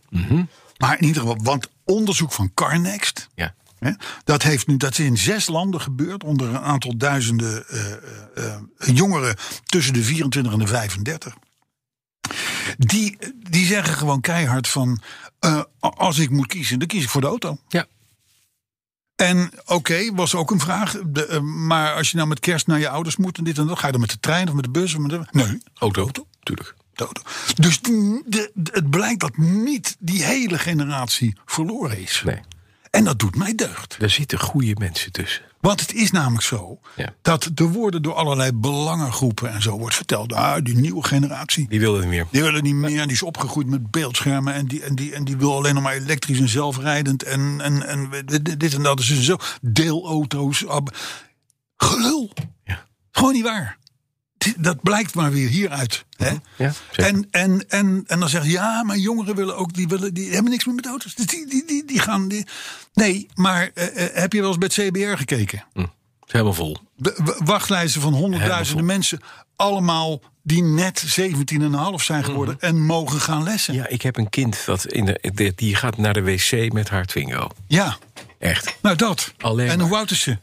B: Maar in ieder geval, want onderzoek van Carnext
F: Ja.
B: Hè? Dat, heeft nu, dat is in zes landen gebeurd, onder een aantal duizenden eh, eh, jongeren tussen de 24 en de 35. Die, die zeggen gewoon keihard van, eh, als ik moet kiezen, dan kies ik voor de auto.
C: Ja.
B: En oké, was ook een vraag. De, eh, maar als je nou met kerst naar je ouders moet en dit en dat, ga je dan met de trein of met de bus? Of met de... Nee,
C: Auto, tuurlijk.
B: de auto. Dus de- de- het blijkt dat niet die hele generatie verloren is.
C: Nee.
B: En dat doet mij deugd.
C: Daar zitten goede mensen tussen.
B: Want het is namelijk zo
C: Ja.
B: dat de woorden door allerlei belangengroepen en zo wordt verteld. Ah, die nieuwe generatie.
C: Die wilden het niet meer.
B: Die willen niet meer, die is opgegroeid met beeldschermen. En die, en die, en die wil alleen nog maar elektrisch en zelfrijdend. En, en, en dit dit en dat. Dus zo. Deelauto's. ab- Gelul.
C: Ja.
B: Gewoon niet waar. Dit- Dat blijkt maar weer hieruit. Hè?
C: Ja, zeker.
B: en, en, en, en dan zeg je, ja, maar jongeren willen ook, die, willen, die hebben niks meer met auto's. Dus die, die, die, die gaan. Die... Nee, maar eh, eh, heb je wel eens bij het CBR gekeken?
C: Het is Hm. helemaal vol.
B: W- w- wachtlijsten van honderdduizenden mensen. Allemaal die net 17,5 zijn geworden en mogen gaan lessen. Ja.
C: Mhm. Ja, ik heb een kind dat in de, die- die gaat naar de wc met haar Twingo. Echt.
B: nou dat.
C: Alleen
B: en
C: maar.
B: hoe oud is ze?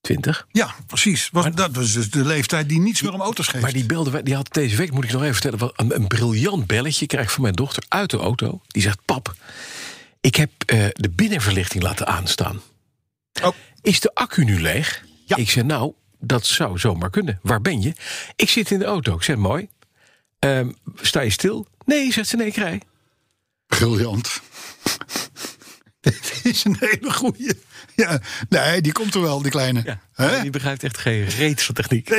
C: 20.
B: Ja, precies. Was, dat was dus de leeftijd die niets meer om auto's geeft.
C: Maar die belde, wij- die had deze week, moet ik nog even vertellen, wat een, een briljant belletje krijg ik van mijn dochter uit de auto. Die zegt: Pap, ik heb eh, de binnenverlichting laten aanstaan.
B: Oh.
C: Is de accu nu leeg?
B: Ja.
C: Ik zeg: Nou, dat zou zomaar kunnen. Waar ben je? Ik zit in de auto. Ik zeg: Mooi. Ehm, sta je stil? Nee, zegt ze: Nee, ik rij.
B: Briljant. Dit is een hele goeie. Ja, nee, die komt er wel, die kleine. Hè?
C: Die begrijpt echt geen reet van techniek.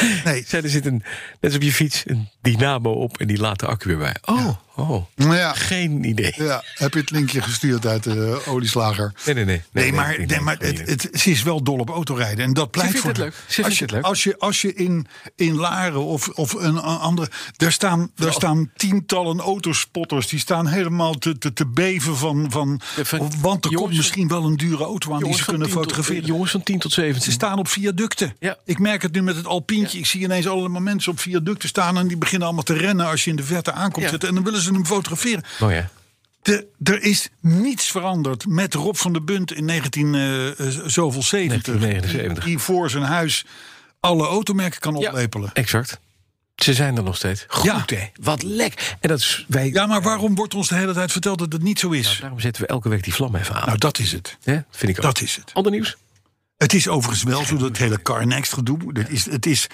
C: Nee.
B: Nee.
C: er zit een, net als op je fiets een dynamo op en die laat de accu weer bij. Oh, oh.
B: Nou ja,
C: Geen idee.
B: ja, heb je het linkje gestuurd uit de olieslager?
C: Nee, nee, nee.
B: Nee, maar,
C: ik
B: nee,
C: ben
B: maar
C: gewoon
B: het,
C: niet.
B: het- ze is wel dol op autorijden. En dat blijft
C: vindt
B: voor
C: het
B: haar.
C: leuk. Ze vindt
B: als je,
C: het leuk.
B: Als je, als je in, in Laren of, of een a- andere... Daar staan, daar staan tientallen autospotters. Die staan helemaal te, te, te beven van... van,
C: Ja, van-
B: want er komt
C: jongens-
B: misschien wel een dure auto aan die
C: Jongens
B: ze
C: van
B: kunnen
C: 10 tot-
B: fotograferen.
C: jongens van 10 tot 17.
B: Ze staan op viaducten.
C: Ja.
B: Ik merk het nu met het alpientje. Ik zie ineens allemaal mensen op viaducten staan... en die beginnen allemaal te rennen als je in de verte aankomt
C: Ja.
B: zitten. En dan willen ze hem fotograferen.
C: Mooi, hè?
B: De, er is niets veranderd met Rob van der Bunt in 19 eh, eh, zoveel 70.
C: 1979.
B: Die voor zijn huis alle automerken kan oplepelen. Ja.
C: exact. Ze zijn er nog steeds. Goed,
B: Ja.
C: hè? Wat lek. En dat is, wij,
B: maar waarom wordt ons de hele tijd verteld dat het niet zo is?
C: daarom zetten we elke week die vlam even aan.
B: Nou, dat is het.
C: Hè? Vind ik ook.
B: Dat is het.
C: Ander nieuws?
B: Het is overigens wel zo dat het hele Carnext gedoe. Dat is, het is,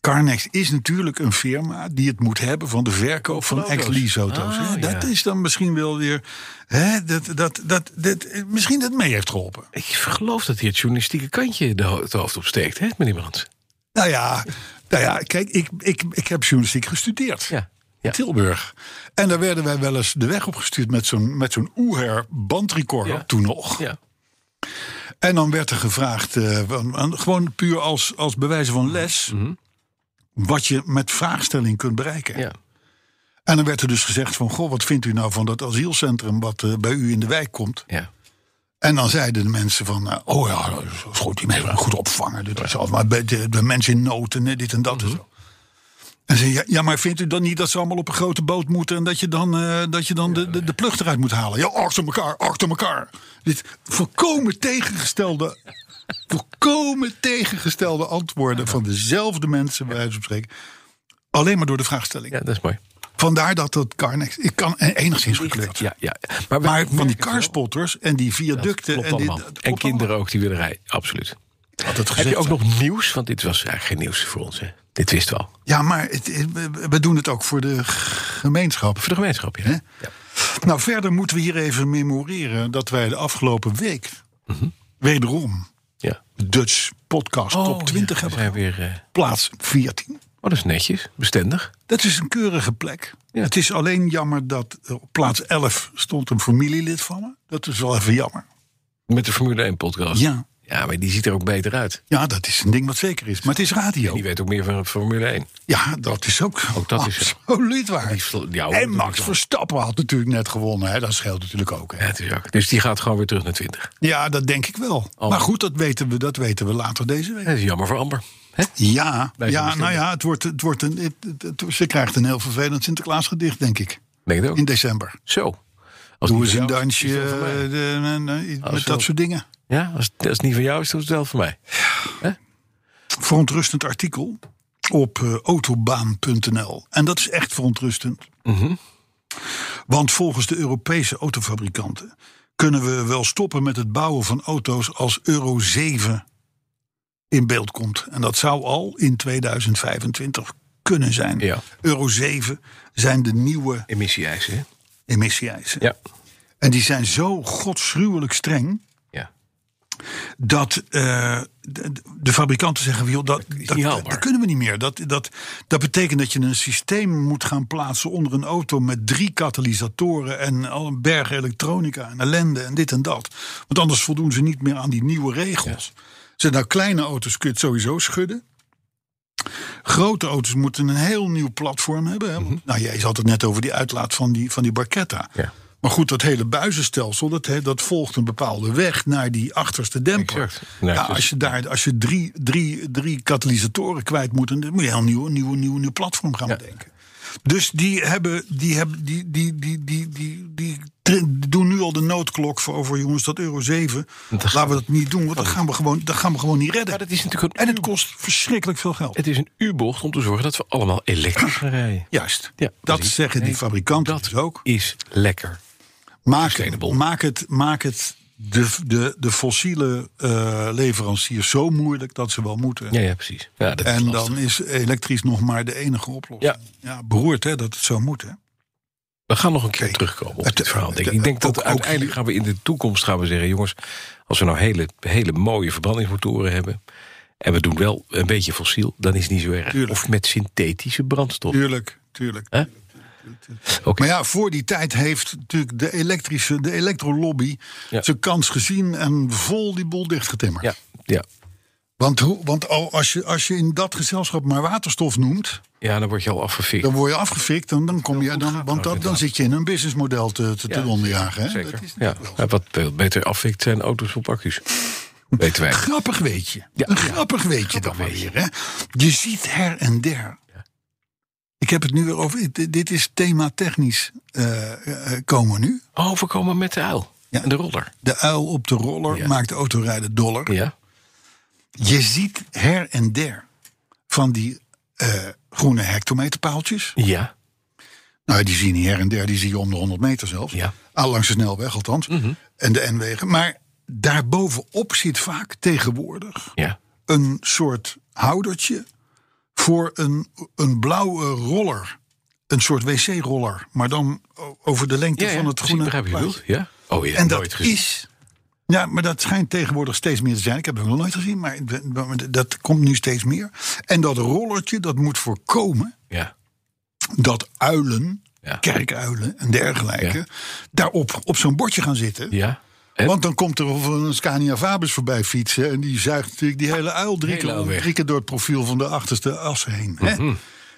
B: Carnext is natuurlijk een firma die het moet hebben van de verkoop van
C: auto's.
B: ex-lease auto's.
C: Ah,
B: hè. dat
C: ja.
B: is dan misschien wel weer. Hè, dat, dat, dat, dat, misschien dat het mee heeft geholpen.
C: Ik geloof dat hier het journalistieke kantje de ho- het hoofd opsteekt, hè, meneer Brands?
B: Nou ja, nou ja kijk, ik, ik, ik heb journalistiek gestudeerd.
C: Ja. ja.
B: Tilburg. En daar werden wij wel eens de weg opgestuurd met zo'n, met zo'n Oeher bandrecorder
C: Ja.
B: toen nog.
C: ja.
B: En dan werd er gevraagd, eh, van- aan- gewoon puur als, als bewijzen van les, wat je met vraagstelling kunt bereiken.
C: Mhm. ja.
B: En dan werd er dus gezegd van, goh, wat vindt u nou van dat asielcentrum wat eh, bij u in de wijk komt?
C: ja.
B: En dan zeiden de mensen van, eh, oh ja, dat is goed, die mensen zijn goed opvangen. Dit is al, maar bij de, de mensen in nood en eh, dit en dat en zo. En ze, ja, ja, maar vindt u dan niet dat ze allemaal op een grote boot moeten... en dat je dan, eh, dat je dan de, de, de plucht eruit moet halen? Ja, achter elkaar, achter elkaar. Dit volkomen tegengestelde... volkomen tegengestelde antwoorden van dezelfde mensen... bij wijze van spreken. Alleen maar door de vraagstelling.
C: Ja, dat is mooi.
B: Vandaar dat dat Carnex... Ik kan eh, enigszins gekleurd.
C: Ja, ja. Maar, wij
B: Maar van die
C: merken
B: carspotters en die
C: wel,
B: viaducten...
C: klopt
B: en, dit-
C: allemaal.
B: dat klopt
C: en
B: allemaal.
C: kinderen ook die willen rijden. Absoluut.
B: Altijd
C: Heb
B: gezegd.
C: je ook nog nieuws? Want dit was eigenlijk geen nieuws voor ons. Hè. Dit wisten we al.
B: Ja, maar het, het- we- we doen het ook voor de g- gemeenschap.
C: Voor de gemeenschap, ja.
B: Hè? Nou, verder moeten we hier even memoreren dat wij de afgelopen week wederom
C: ja.
B: de Dutch Podcast
C: Mhm. Oh,
B: Top 20
C: ja, we
B: hebben.
C: zijn weer. eh,
B: Plaats 14.
C: Oh, dat is netjes, bestendig.
B: Dat is een keurige plek.
C: Ja.
B: Het is alleen jammer dat eh, op plaats 11 stond een familielid van me. Dat is wel even jammer.
C: Met de Formule 1 podcast.
B: Ja,
C: Ja, maar die ziet er ook beter uit.
B: ja dat is een ding wat zeker is. Maar het is radio.
C: Die weet ook meer van Formule 1.
B: Ja, dat is ook,
C: Ook dat is-
B: absoluut waar.
C: Die sl- die oude
B: en Max
C: natuurlijk
B: Verstappen had natuurlijk net gewonnen. Hè? Dat scheelt natuurlijk ook. Hè?
C: Ja, het is ook. Dus die gaat gewoon weer terug naar 20.
B: Ja, dat denk ik wel.
C: Oh.
B: Maar goed, dat weten, we, dat weten we later deze week.
C: Dat is jammer voor Amber. Hè?
B: Ja,
C: Wij zijn
B: ja nou
C: bestemd.
B: ja, het wordt, het wordt een, het- het- het- ze krijgt een heel vervelend Sinterklaasgedicht, denk ik.
C: Denk het ook.
B: In december.
C: Zo. Als
B: Doe
C: het
B: eens
C: niet
B: een
C: van jou is,
B: dansje.
C: is het wel van mij.
B: eh, de- en, eh, iets
C: Oh,
B: met
C: zo.
B: dat soort dingen.
C: Ja, als, als het niet van jou is, doe het wel voor mij.
B: Verontrustend artikel op eh, autobaan.nl. En dat is echt verontrustend.
C: Mhm.
B: Want volgens de Europese autofabrikanten kunnen we wel stoppen met het bouwen van auto's als Euro 7 in beeld komt. En dat zou al in 2025 kunnen zijn.
C: Ja.
B: Euro 7 zijn de nieuwe
C: Emissie-eisen, hè?
B: emissie-eisen.
C: Ja.
B: En die zijn zo godsruwelijk streng
C: ja.
B: dat eh, de, de fabrikanten zeggen: joh, dat,
C: is
B: dat,
C: niet
B: dat,
C: haalbaar.
B: kunnen we niet meer. Dat, dat, dat betekent dat je een systeem moet gaan plaatsen onder een auto met drie katalysatoren en al een berg elektronica en ellende en dit en dat. Want anders voldoen ze niet meer aan die nieuwe regels. Zijn nou kleine auto's kun je het sowieso schudden. Grote auto's moeten een heel nieuw platform hebben. hè. Nou, jij had het net over die uitlaat van die, van die Barchetta.
C: Mhm. Ja.
B: Maar goed, dat hele buizenstelsel, dat, he- dat volgt een bepaalde weg naar die achterste demper.
C: Exact. Nou,
B: ja,
C: dus-
B: als je, daar, als je drie, drie, drie katalysatoren kwijt moet, dan moet je een heel nieuw, nieuw, nieuw, nieuw platform gaan bedenken. Dus die, hebben, die, hebben, die, die, die, die, die, die, die doen nu al de noodklok voor over jongens, dat euro 7. Laten we dat niet doen, want dan gaan we gewoon, dan gaan we gewoon niet redden.
C: Maar dat is natuurlijk
B: En
C: een,
B: het kost verschrikkelijk veel geld.
C: het is een U-bocht om te zorgen dat we allemaal elektrisch gaan rijden.
B: Juist.
C: Ja,
B: dat
C: precies.
B: zeggen die
C: Nee,
B: fabrikanten
C: dat
B: dus ook.
C: is lekker.
B: Maak,
C: sustainable.
B: maak het, maak het de, de, de fossiele eh, leveranciers zo moeilijk dat ze wel moeten.
C: Ja, ja precies. Ja, dat is
B: en
C: lastig.
B: dan is elektrisch nog maar de enige oplossing.
C: Ja.
B: beroerd hè, dat het zo moet. Hè.
C: We gaan nog een keer
B: Oké.
C: terugkomen op
B: Het-
C: dit verhaal. Denk. ik.
B: het-
C: Ik denk dat
B: ook- ook
C: uiteindelijk
B: hier-
C: gaan we in de toekomst gaan we zeggen... jongens, als we nou hele, hele mooie verbrandingsmotoren hebben... en we doen wel een beetje fossiel, dan is het niet zo erg.
B: Tuurlijk.
C: Of met synthetische brandstof.
B: Tuurlijk, tuurlijk.
C: Hè? Oké.
B: Maar ja, voor die tijd heeft natuurlijk de elektrische, de elektrolobby
C: Ja.
B: zijn kans gezien en vol die boel dichtgetimmerd.
C: Ja, ja.
B: Want, hoe, want al- als, je, als je in dat gezelschap maar waterstof noemt,
C: ja, dan word je al afgefikt.
B: dan word je afgefikt en dan kom je, dan,
C: gaat
B: want
C: dat,
B: dat, dan
C: inderdaad.
B: zit je in een businessmodel te, te, te
C: Ja,
B: onderjagen. Hè.
C: Zeker.
B: Dat is
C: ja.
B: natuurlijk wel zo.
C: Ja, wat veel beter affikt zijn auto's op accu's. Weten wij.
B: grappig weet je.
C: Ja.
B: een grappig weet je dan maar
C: weetje.
B: weer. Hè? Je ziet her en der. Ik heb het nu weer over. dit- Dit is thema technisch eh, eh, komen nu.
C: Overkomen met de uil.
B: Ja.
C: En de roller.
B: De uil op de roller
C: Ja.
B: maakt de autorijden doller.
C: Ja.
B: Je ziet her en der van die eh, groene hectometerpaaltjes.
C: Ja.
B: Nou, die zie je niet her en der, die zie je om de 100 meter zelfs.
C: Ja. Mhm.
B: Al langs de snelweg althans. En de N-wegen. Maar daarbovenop zit vaak tegenwoordig
C: Ja.
B: een soort houdertje voor een, een blauwe roller. Een soort wc-roller, maar dan o- over de lengte
C: Ja, ja.
B: van het groene.
C: Ik begrijp je
B: plaatje.
C: bedoelt. Ja. Oh ja,
B: En
C: nooit
B: dat
C: gezien.
B: is. Ja, maar dat schijnt tegenwoordig steeds meer te zijn. Ik heb het nog nooit gezien, maar d- dat komt nu steeds meer. En dat rollertje, dat moet voorkomen
C: Ja.
B: dat uilen,
C: Ja.
B: kerkuilen en dergelijke, daarop op zo'n bordje gaan zitten.
C: Ja. En?
B: Want dan komt er een Scania Fabus voorbij fietsen. En die zuigt natuurlijk die hele uil drie,
C: Hele
B: keer,
C: uil weg. Mhm.
B: drie keer door het profiel van de achterste as heen. Hè?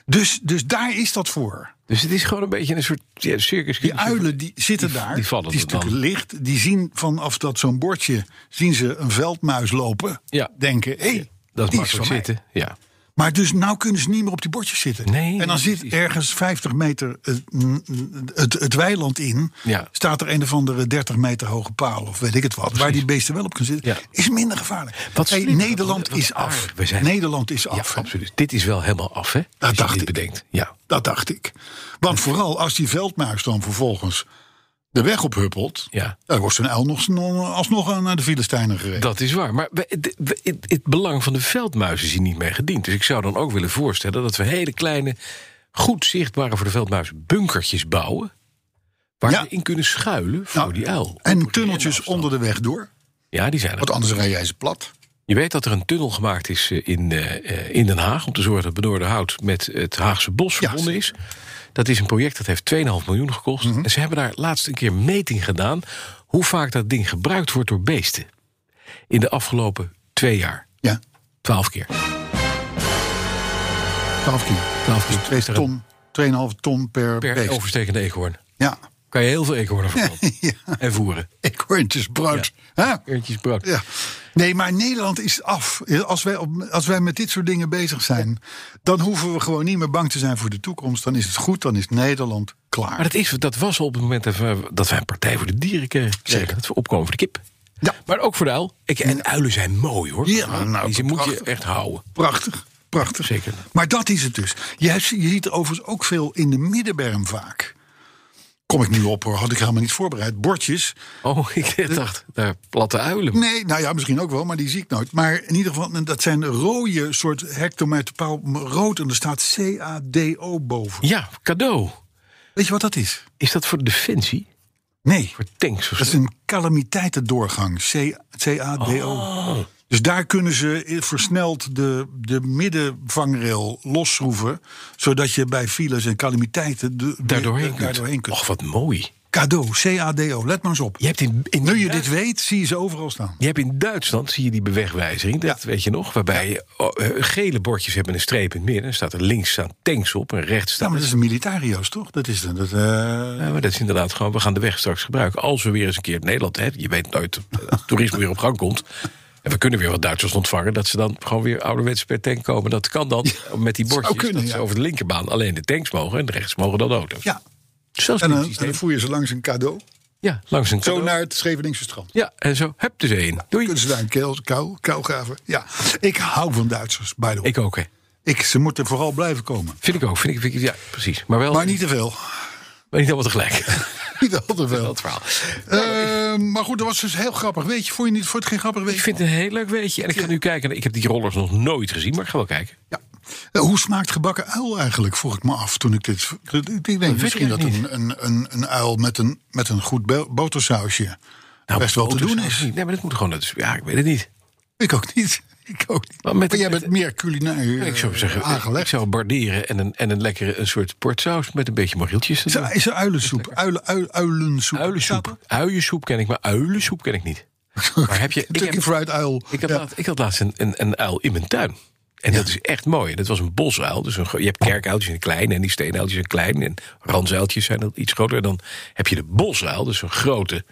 B: Dus, dus daar is dat voor.
C: Dus het is gewoon een beetje een soort ja, circus.
B: Die uilen die zitten
C: die-
B: daar.
C: die vallen
B: die is
C: er dan.
B: natuurlijk licht. Die zien vanaf dat zo'n bordje zien ze een veldmuis lopen.
C: Ja.
B: Denken, hé, hey,
C: Dat
B: die
C: mag
B: is van
C: makkelijk zitten.
B: zitten.
C: Ja.
B: Maar dus nou kunnen ze niet meer op die bordjes zitten.
C: Nee,
B: en dan zit
C: precies.
B: ergens 50 meter het, mm, het, het weiland in.
C: Ja.
B: Staat er een of andere 30 meter hoge paal of weet ik het wat. Waar die beesten wel op kunnen zitten.
C: Ja.
B: Is minder gevaarlijk.
C: Wat
B: Hey,
C: slim,
B: Nederland
C: wat- wat
B: is af.
C: aardig. We zijn-
B: Nederland is
C: Ja,
B: af. hè?
C: absoluut. Dit is wel helemaal af, hè? als je
B: dacht
C: dit
B: ik.
C: bedenkt. Ja.
B: Dat dacht ik. Want vooral als die veldmuis dan vervolgens de weg ophuppelt.
C: Ja.
B: Dan wordt zijn uil nog, nog- alsnog aan naar de Filistijnen gereden.
C: Dat is waar. Maar we- het- we- het, het belang van de veldmuis is hier niet mee gediend. Dus ik zou dan ook willen voorstellen dat we hele kleine, goed zichtbare voor de veldmuis bunkertjes bouwen. Waar
B: Ja.
C: ze in kunnen schuilen voor
B: Nou,
C: die uil.
B: en tunneltjes onder de weg door.
C: Ja, die zijn er.
B: Want anders rij jij ze plat.
C: Je weet dat er een tunnel gemaakt is eh, in, eh, eh, in Den Haag... om te zorgen dat Benoordenhout met het Haagse Bos verbonden is. Dat is een project dat heeft 2,5 miljoen gekost.
B: Mhm.
C: En ze hebben daar laatst een keer meting gedaan... hoe vaak dat ding gebruikt wordt door beesten. In de afgelopen twee jaar.
B: Ja,
C: 12 keer.
B: 12 kilo.
C: 12 keer.
B: Dus Twee ton, 2,5 ton per,
C: Dus per
B: beest.
C: overstekende eekhoorn.
B: Ja,
C: Kan je heel veel eekhoornen verkopen.
B: Ja.
C: En voeren.
B: eekhoorntjes brood. Hè?
C: Eentjes brak.
B: Ja. Nee, maar Nederland is af. Als wij, op, als wij met dit soort dingen bezig zijn, dan hoeven we gewoon niet meer bang te zijn voor de toekomst. Dan is het goed, dan is Nederland klaar.
C: Maar dat, is, dat was al op het moment dat, we, dat wij een Partij voor de Dieren kregen.
B: Zeker.
C: Dat we opkomen voor de kip.
B: Ja.
C: Maar ook voor de uil. Ik, en uilen zijn mooi hoor.
B: Ja, nou,
C: Die ze moet je
B: prachtig.
C: echt houden.
B: Prachtig, prachtig.
C: Zeker.
B: Maar dat is het dus. Je, hebt- je ziet er overigens ook veel in de middenberm vaak. Kom ik nu op hoor, had ik helemaal niet voorbereid. Bordjes.
C: Oh, ik dacht, daar platte uilen.
B: Nee, nou ja, misschien ook wel, maar die zie ik nooit. Maar in ieder geval, dat zijn rode soort hectometerpaal rood. En er staat CADO boven.
C: Ja, cadeau.
B: Weet je wat dat is?
C: Is dat voor defensie?
B: Nee,
C: Voor tanks of
B: dat is
C: zo?
B: een calamiteitendoorgang. C- CADO. Dus daar kunnen ze versneld de, de middenvangrail losschroeven. Zodat je bij files en calamiteiten de,
C: Daardoorheen
B: de- daardoorheen kunt.
C: Och, wat mooi.
B: Cadeau, CADO, let maar eens op.
C: Je hebt in, in
B: Nu je
C: Duits-
B: dit weet, zie je ze overal staan.
C: Je hebt in Duitsland, zie je die bewegwijzering, dat weet je nog, waarbij je, oh, eh, gele bordjes hebben een streep in het midden. Dan staat er links staan tanks op en rechts
B: Ja,
C: staan.
B: maar dat is een militario's, toch? Dat is, de- dat, eh,
C: Ja, maar dat is inderdaad gewoon, we gaan de weg straks gebruiken. Als we weer eens een keer in Nederland, hè, je weet nooit, eh, als toerisme weer op gang komt. En we kunnen weer wat Duitsers ontvangen, dat ze dan gewoon weer ouderwets per tank komen. Dat kan dan met die bordjes.
B: kunnen,
C: dat ze
B: ja.
C: over de linkerbaan alleen de tanks mogen en de rechts mogen dan de auto's.
B: ja.
C: Zelfs
B: En
C: in het
B: dan, en
C: systeem.
B: dan voer je ze langs een cadeau.
C: Ja, langs een
B: Zo
C: cadeau.
B: naar het Scheveningse strand.
C: Ja, en zo, heb dus één. Doei.
B: Kunnen ze daar een keel, kou, kou graven? Ja, ik hou van Duitsers, by the way.
C: Ik ook, hè.
B: Ik, ze moeten vooral blijven komen.
C: Vind ik ook. Vind ik, vind ik, ja, precies. Maar wel
B: Maar niet te veel.
C: maar niet allemaal tegelijk.
B: Niet al te veel.
C: dat verhaal.
B: Eh, maar goed, dat was dus heel grappig. Weet je, vond je niet, vond je het geen grappig
C: Ik
B: weetje?
C: vind het een heel leuk weetje. En ik ga nu kijken. Ik heb die rollers nog nooit gezien, maar ik ga wel kijken.
B: Ja. Eh, Hoe smaakt gebakken uil eigenlijk? Vroeg ik me af toen ik dit. Ik denk misschien dat
C: eigenlijk
B: een, een, een, een uil met een, met een goed bo- botersausje
C: Nou,
B: best Nou, wel te
C: auto's
B: doen
C: nog
B: is.
C: niet. dus- Nee, maar dat moet gewoon. Dat is, ja, ik weet het niet.
B: Ik ook niet. Ik ook niet.
C: Maar
B: Maar,
C: met-
B: jij
C: met-
B: bent meer culinair
C: ik zou
B: eh,
C: zeggen, ik
B: aangelegd.
C: zou barderen en een, en een lekkere een soort portsaus met een beetje morrieltjes.
B: Is er, is er uilensoep? Uilen, uil- uilensoep.
C: Uilensoep. Uiensoep ken ik, maar uilensoep ken ik niet. Maar heb je, ik,
B: Turkey
C: heb,
B: fried uil.
C: ik, had
B: Ja.
C: laatst, ik had laatst een, een, een uil in mijn tuin. En dat is echt mooi. Dat was een bosuil. Dus een, gro- je hebt kerkuiltjes en klein. En die steenuiltjes zijn klein. En ransuiltjes zijn dat iets groter. En dan heb je de bosuil. Dus een grote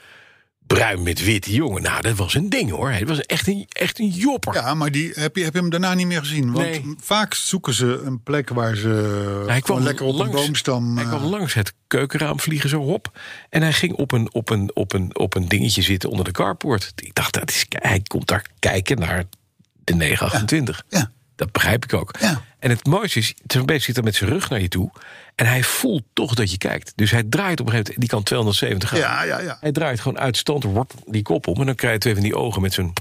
C: bruin met witte jongen. Nou, dat was een ding hoor. Het was echt een, echt een jopper.
B: Ja, maar die, heb, je, heb je hem daarna niet meer gezien? Want
C: Nee.
B: vaak zoeken ze een plek waar ze
C: Hij
B: gewoon
C: kwam
B: lekker op
C: langs,
B: een boomstam...
C: Hij
B: eh,
C: kwam langs het keukenraam vliegen zo op. En hij ging op een, op een, op een, op een dingetje zitten onder de carport. Ik dacht, dat is, hij komt daar kijken naar de 928.
B: Ja, ja.
C: Dat begrijp ik ook.
B: Ja.
C: En het mooiste is, zo'n beest zit dan met zijn rug naar je toe. En hij voelt toch dat je kijkt. Dus hij draait op een gegeven moment, die kan 270 graden.
B: ja, ja, ja.
C: Hij draait gewoon uitstand wop, die kop om. En dan krijg je twee van die ogen met zo'n...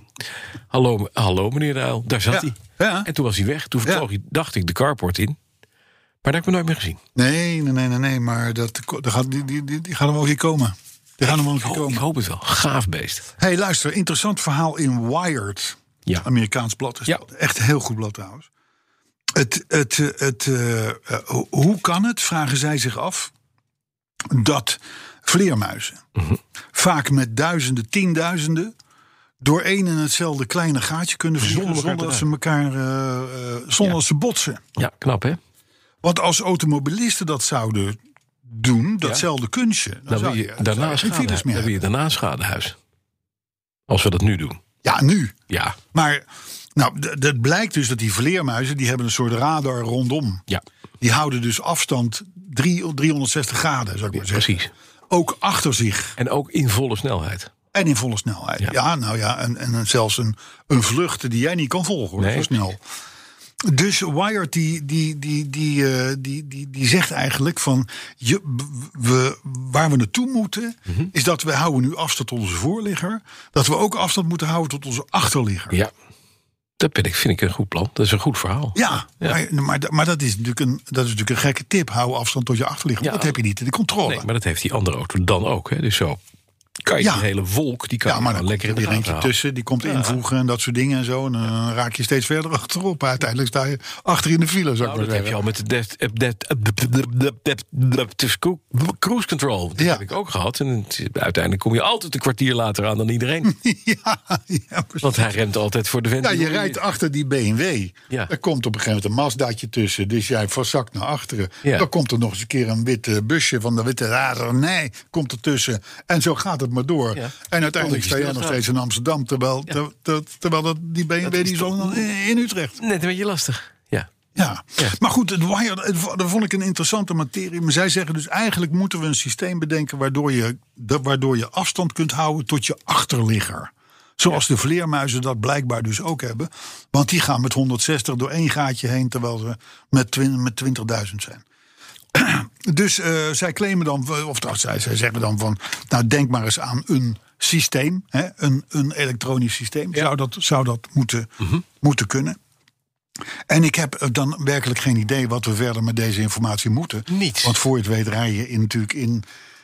C: Hallo, me- hallo meneer de uil, daar zat
B: Ja,
C: hij.
B: ja.
C: En toen was hij weg. Toen
B: Ja.
C: vloog hij, dacht ik, de carport in. Maar daar heb ik hem nooit meer gezien.
B: Nee, nee, nee, nee, nee, maar dat, dat gaat, die, die, die, die gaan er wel een keer komen. Die gaan er wel een
C: Oh, Ik
B: keer
C: hoop, ik
B: komen.
C: hoop het wel. Gaaf beest.
B: hey, luister, interessant verhaal in Wired.
C: Ja.
B: Amerikaans blad is
C: Ja.
B: dat. Echt een heel goed blad trouwens. Het, het, eh, het, eh, eh, ho- hoe kan het, vragen zij zich af, dat vleermuizen
C: Mhm.
B: vaak met duizenden, tienduizenden door één en hetzelfde kleine gaatje kunnen vliegen
C: Zonder
B: zonder,
C: elkaar te
B: dat ze elkaar eh, eh, zonder dat ze botsen.
C: Ja, knap hè?
B: Want als automobilisten dat zouden doen, datzelfde kunstje, dan,
C: Dan wil
B: zou
C: je
B: dan zou
C: daarna
B: geen files
C: schadehuis.
B: meer
C: Dan wil je daarna schadehuis. Als we dat nu doen.
B: hebben. Ja, nu.
C: Ja,
B: Maar nou, d- dat blijkt dus dat die vleermuizen, die hebben een soort radar rondom.
C: ja,
B: Die houden dus afstand drie- 360 graden, zou ik maar zeggen.
C: precies.
B: Ook achter zich
C: En ook in volle snelheid.
B: en in volle snelheid.
C: Ja.
B: Ja, nou ja, en, en zelfs een, een vlucht die jij niet kan volgen, hoor,
C: Nee.
B: zo snel. Dus Wired die, die, die, die, eh, die, die, die zegt eigenlijk van je, we, waar we naartoe moeten,
C: Mhm.
B: is dat we houden nu afstand tot onze voorligger. Dat we ook afstand moeten houden tot onze achterligger.
C: Ja, dat ben ik, vind ik een goed plan. Dat is een goed verhaal.
B: Ja,
C: Ja.
B: Maar, maar, dat- maar dat, is natuurlijk een, dat is natuurlijk een gekke tip. Hou afstand tot je achterligger.
C: Ja.
B: Dat heb je niet in de controle.
C: Nee, maar dat heeft die andere auto dan ook. Hè? Dus zo kan je
B: Ja.
C: die hele wolk, die kan
B: ja, maar dan
C: lekker
B: lekker
C: in de
B: weer
C: gaten
B: eentje
C: houden.
B: tussen. Die komt invoegen en dat soort dingen en zo. En dan raak je steeds verder achterop. Uiteindelijk sta je achter in de file, zou ik
C: Nou,
B: maar
C: dat heb je
B: zeggen.
C: al met de deft- eh, deft- eh, deft- deft- deft- deft- deft- deft- cru- cruise control. Dat
B: Ja.
C: heb ik ook gehad. En het- uiteindelijk kom je altijd een kwartier later aan dan iedereen.
B: ja, ja, precies.
C: Want hij remt altijd voor de vent.
B: Hm. Ja,
C: die
B: je
C: nog niet
B: rijdt
C: is.
B: achter die BMW.
C: Ja.
B: Er komt op een gegeven moment een Mazdaatje tussen. Dus jij verzakt naar achteren.
C: Ja.
B: Dan komt er nog eens een keer een wit eh, busje van de witte razernij. Komt ertussen. En zo gaat het het maar door.
C: Ja.
B: En uiteindelijk
C: Omdat je
B: sta jij
C: stil
B: nog
C: staat.
B: steeds in Amsterdam. Terwijl,
C: Ja.
B: ter- ter- terwijl dat, die BMW
C: is
B: die
C: toch-
B: zo in Utrecht.
C: Net een beetje lastig. Ja.
B: Ja.
C: Ja.
B: maar goed, het Wired, het vo- dat vond ik een interessante materie. Maar zij zeggen dus eigenlijk moeten we een systeem bedenken... waardoor je, dat, waardoor je afstand kunt houden tot je achterligger. Zoals de vleermuizen dat blijkbaar dus ook hebben. Want die gaan met 160 door één gaatje heen... terwijl ze met, twin- met 20.000 zijn. Dus eh, zij claimen dan, of trouwens, zij, zij zeggen dan van... nou, denk maar eens aan een systeem, hè, een, een elektronisch systeem. Zou dat, zou dat moeten, moeten kunnen? En ik heb eh, dan werkelijk geen idee wat we verder met deze informatie moeten.
C: Niets.
B: Want voor je het weet rij je in, natuurlijk in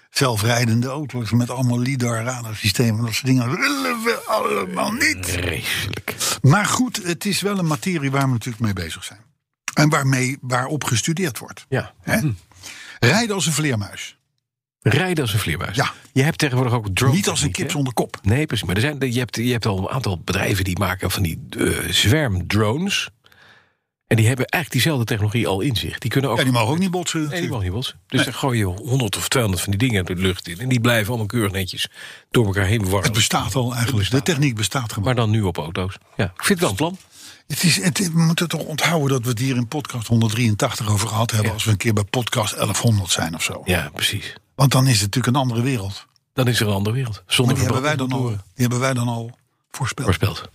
B: zelfrijdende auto's... met allemaal lidar, radarsystemen en dat soort dingen. Willen we allemaal niet.
C: Vreselijk.
B: Maar goed, het is wel een materie waar we natuurlijk mee bezig zijn. En waarmee, waarop gestudeerd wordt.
C: Ja.
B: Hè? Rijden als een vleermuis.
C: Rijden als een vleermuis.
B: Ja.
C: Je hebt tegenwoordig ook drones.
B: Niet als een kip zonder kop.
C: Nee, precies. Maar er zijn, je, hebt, je hebt al een aantal bedrijven die maken van die eh, zwermdrones. En die hebben eigenlijk diezelfde technologie al in zich. Die kunnen ook.
B: Ja, die mogen ook niet botsen.
C: Nee, die
B: natuurlijk.
C: mag niet botsen. Dus dan gooi je 100 of 200 van die dingen de lucht in. En die blijven allemaal keurig netjes door elkaar heen
B: Het
C: warm.
B: bestaat al eigenlijk. De techniek bestaat gewoon.
C: Maar dan nu op auto's. Ja, ik vind het wel een plan.
B: Het is, het, we moeten toch onthouden dat we het hier in podcast 183 over gehad hebben. Als we een keer bij podcast 1100 zijn of zo.
C: Ja, precies.
B: Want dan is het natuurlijk een andere wereld.
C: Dan is er een andere wereld. Zonder
B: Maar die hebben, wij dan al, die
C: verbranding
B: hebben wij dan al voorspeld.
C: voorspeld.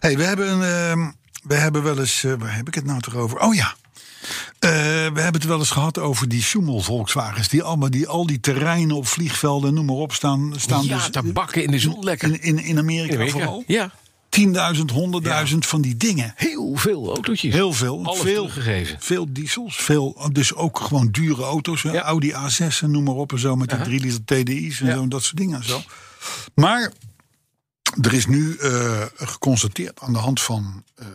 B: Hey, we hebben, een, ehm, we hebben wel eens. eh, waar heb ik het nou toch over? Oh ja. Eh, we hebben het wel eens gehad over die Schumel-Volkswagens. Die allemaal die, al die terreinen op vliegvelden, noem maar op, staan. staan
C: Ja,
B: dus,
C: daar bakken in de zon lekker.
B: In, in, in Amerika
C: In Amerika.
B: vooral.
C: Ja,
B: 10.000, 100.000 van die dingen.
C: heel veel autootjes.
B: Heel veel.
C: Alles
B: veel,
C: teruggegeven.
B: veel diesels. Veel, dus ook gewoon dure auto's. hè.
C: Ja.
B: Audi A6 en noem maar op. En zo met die 3 liter TDI's en zo. en Dat soort dingen en zo. Maar er is nu eh, geconstateerd aan de hand van eh,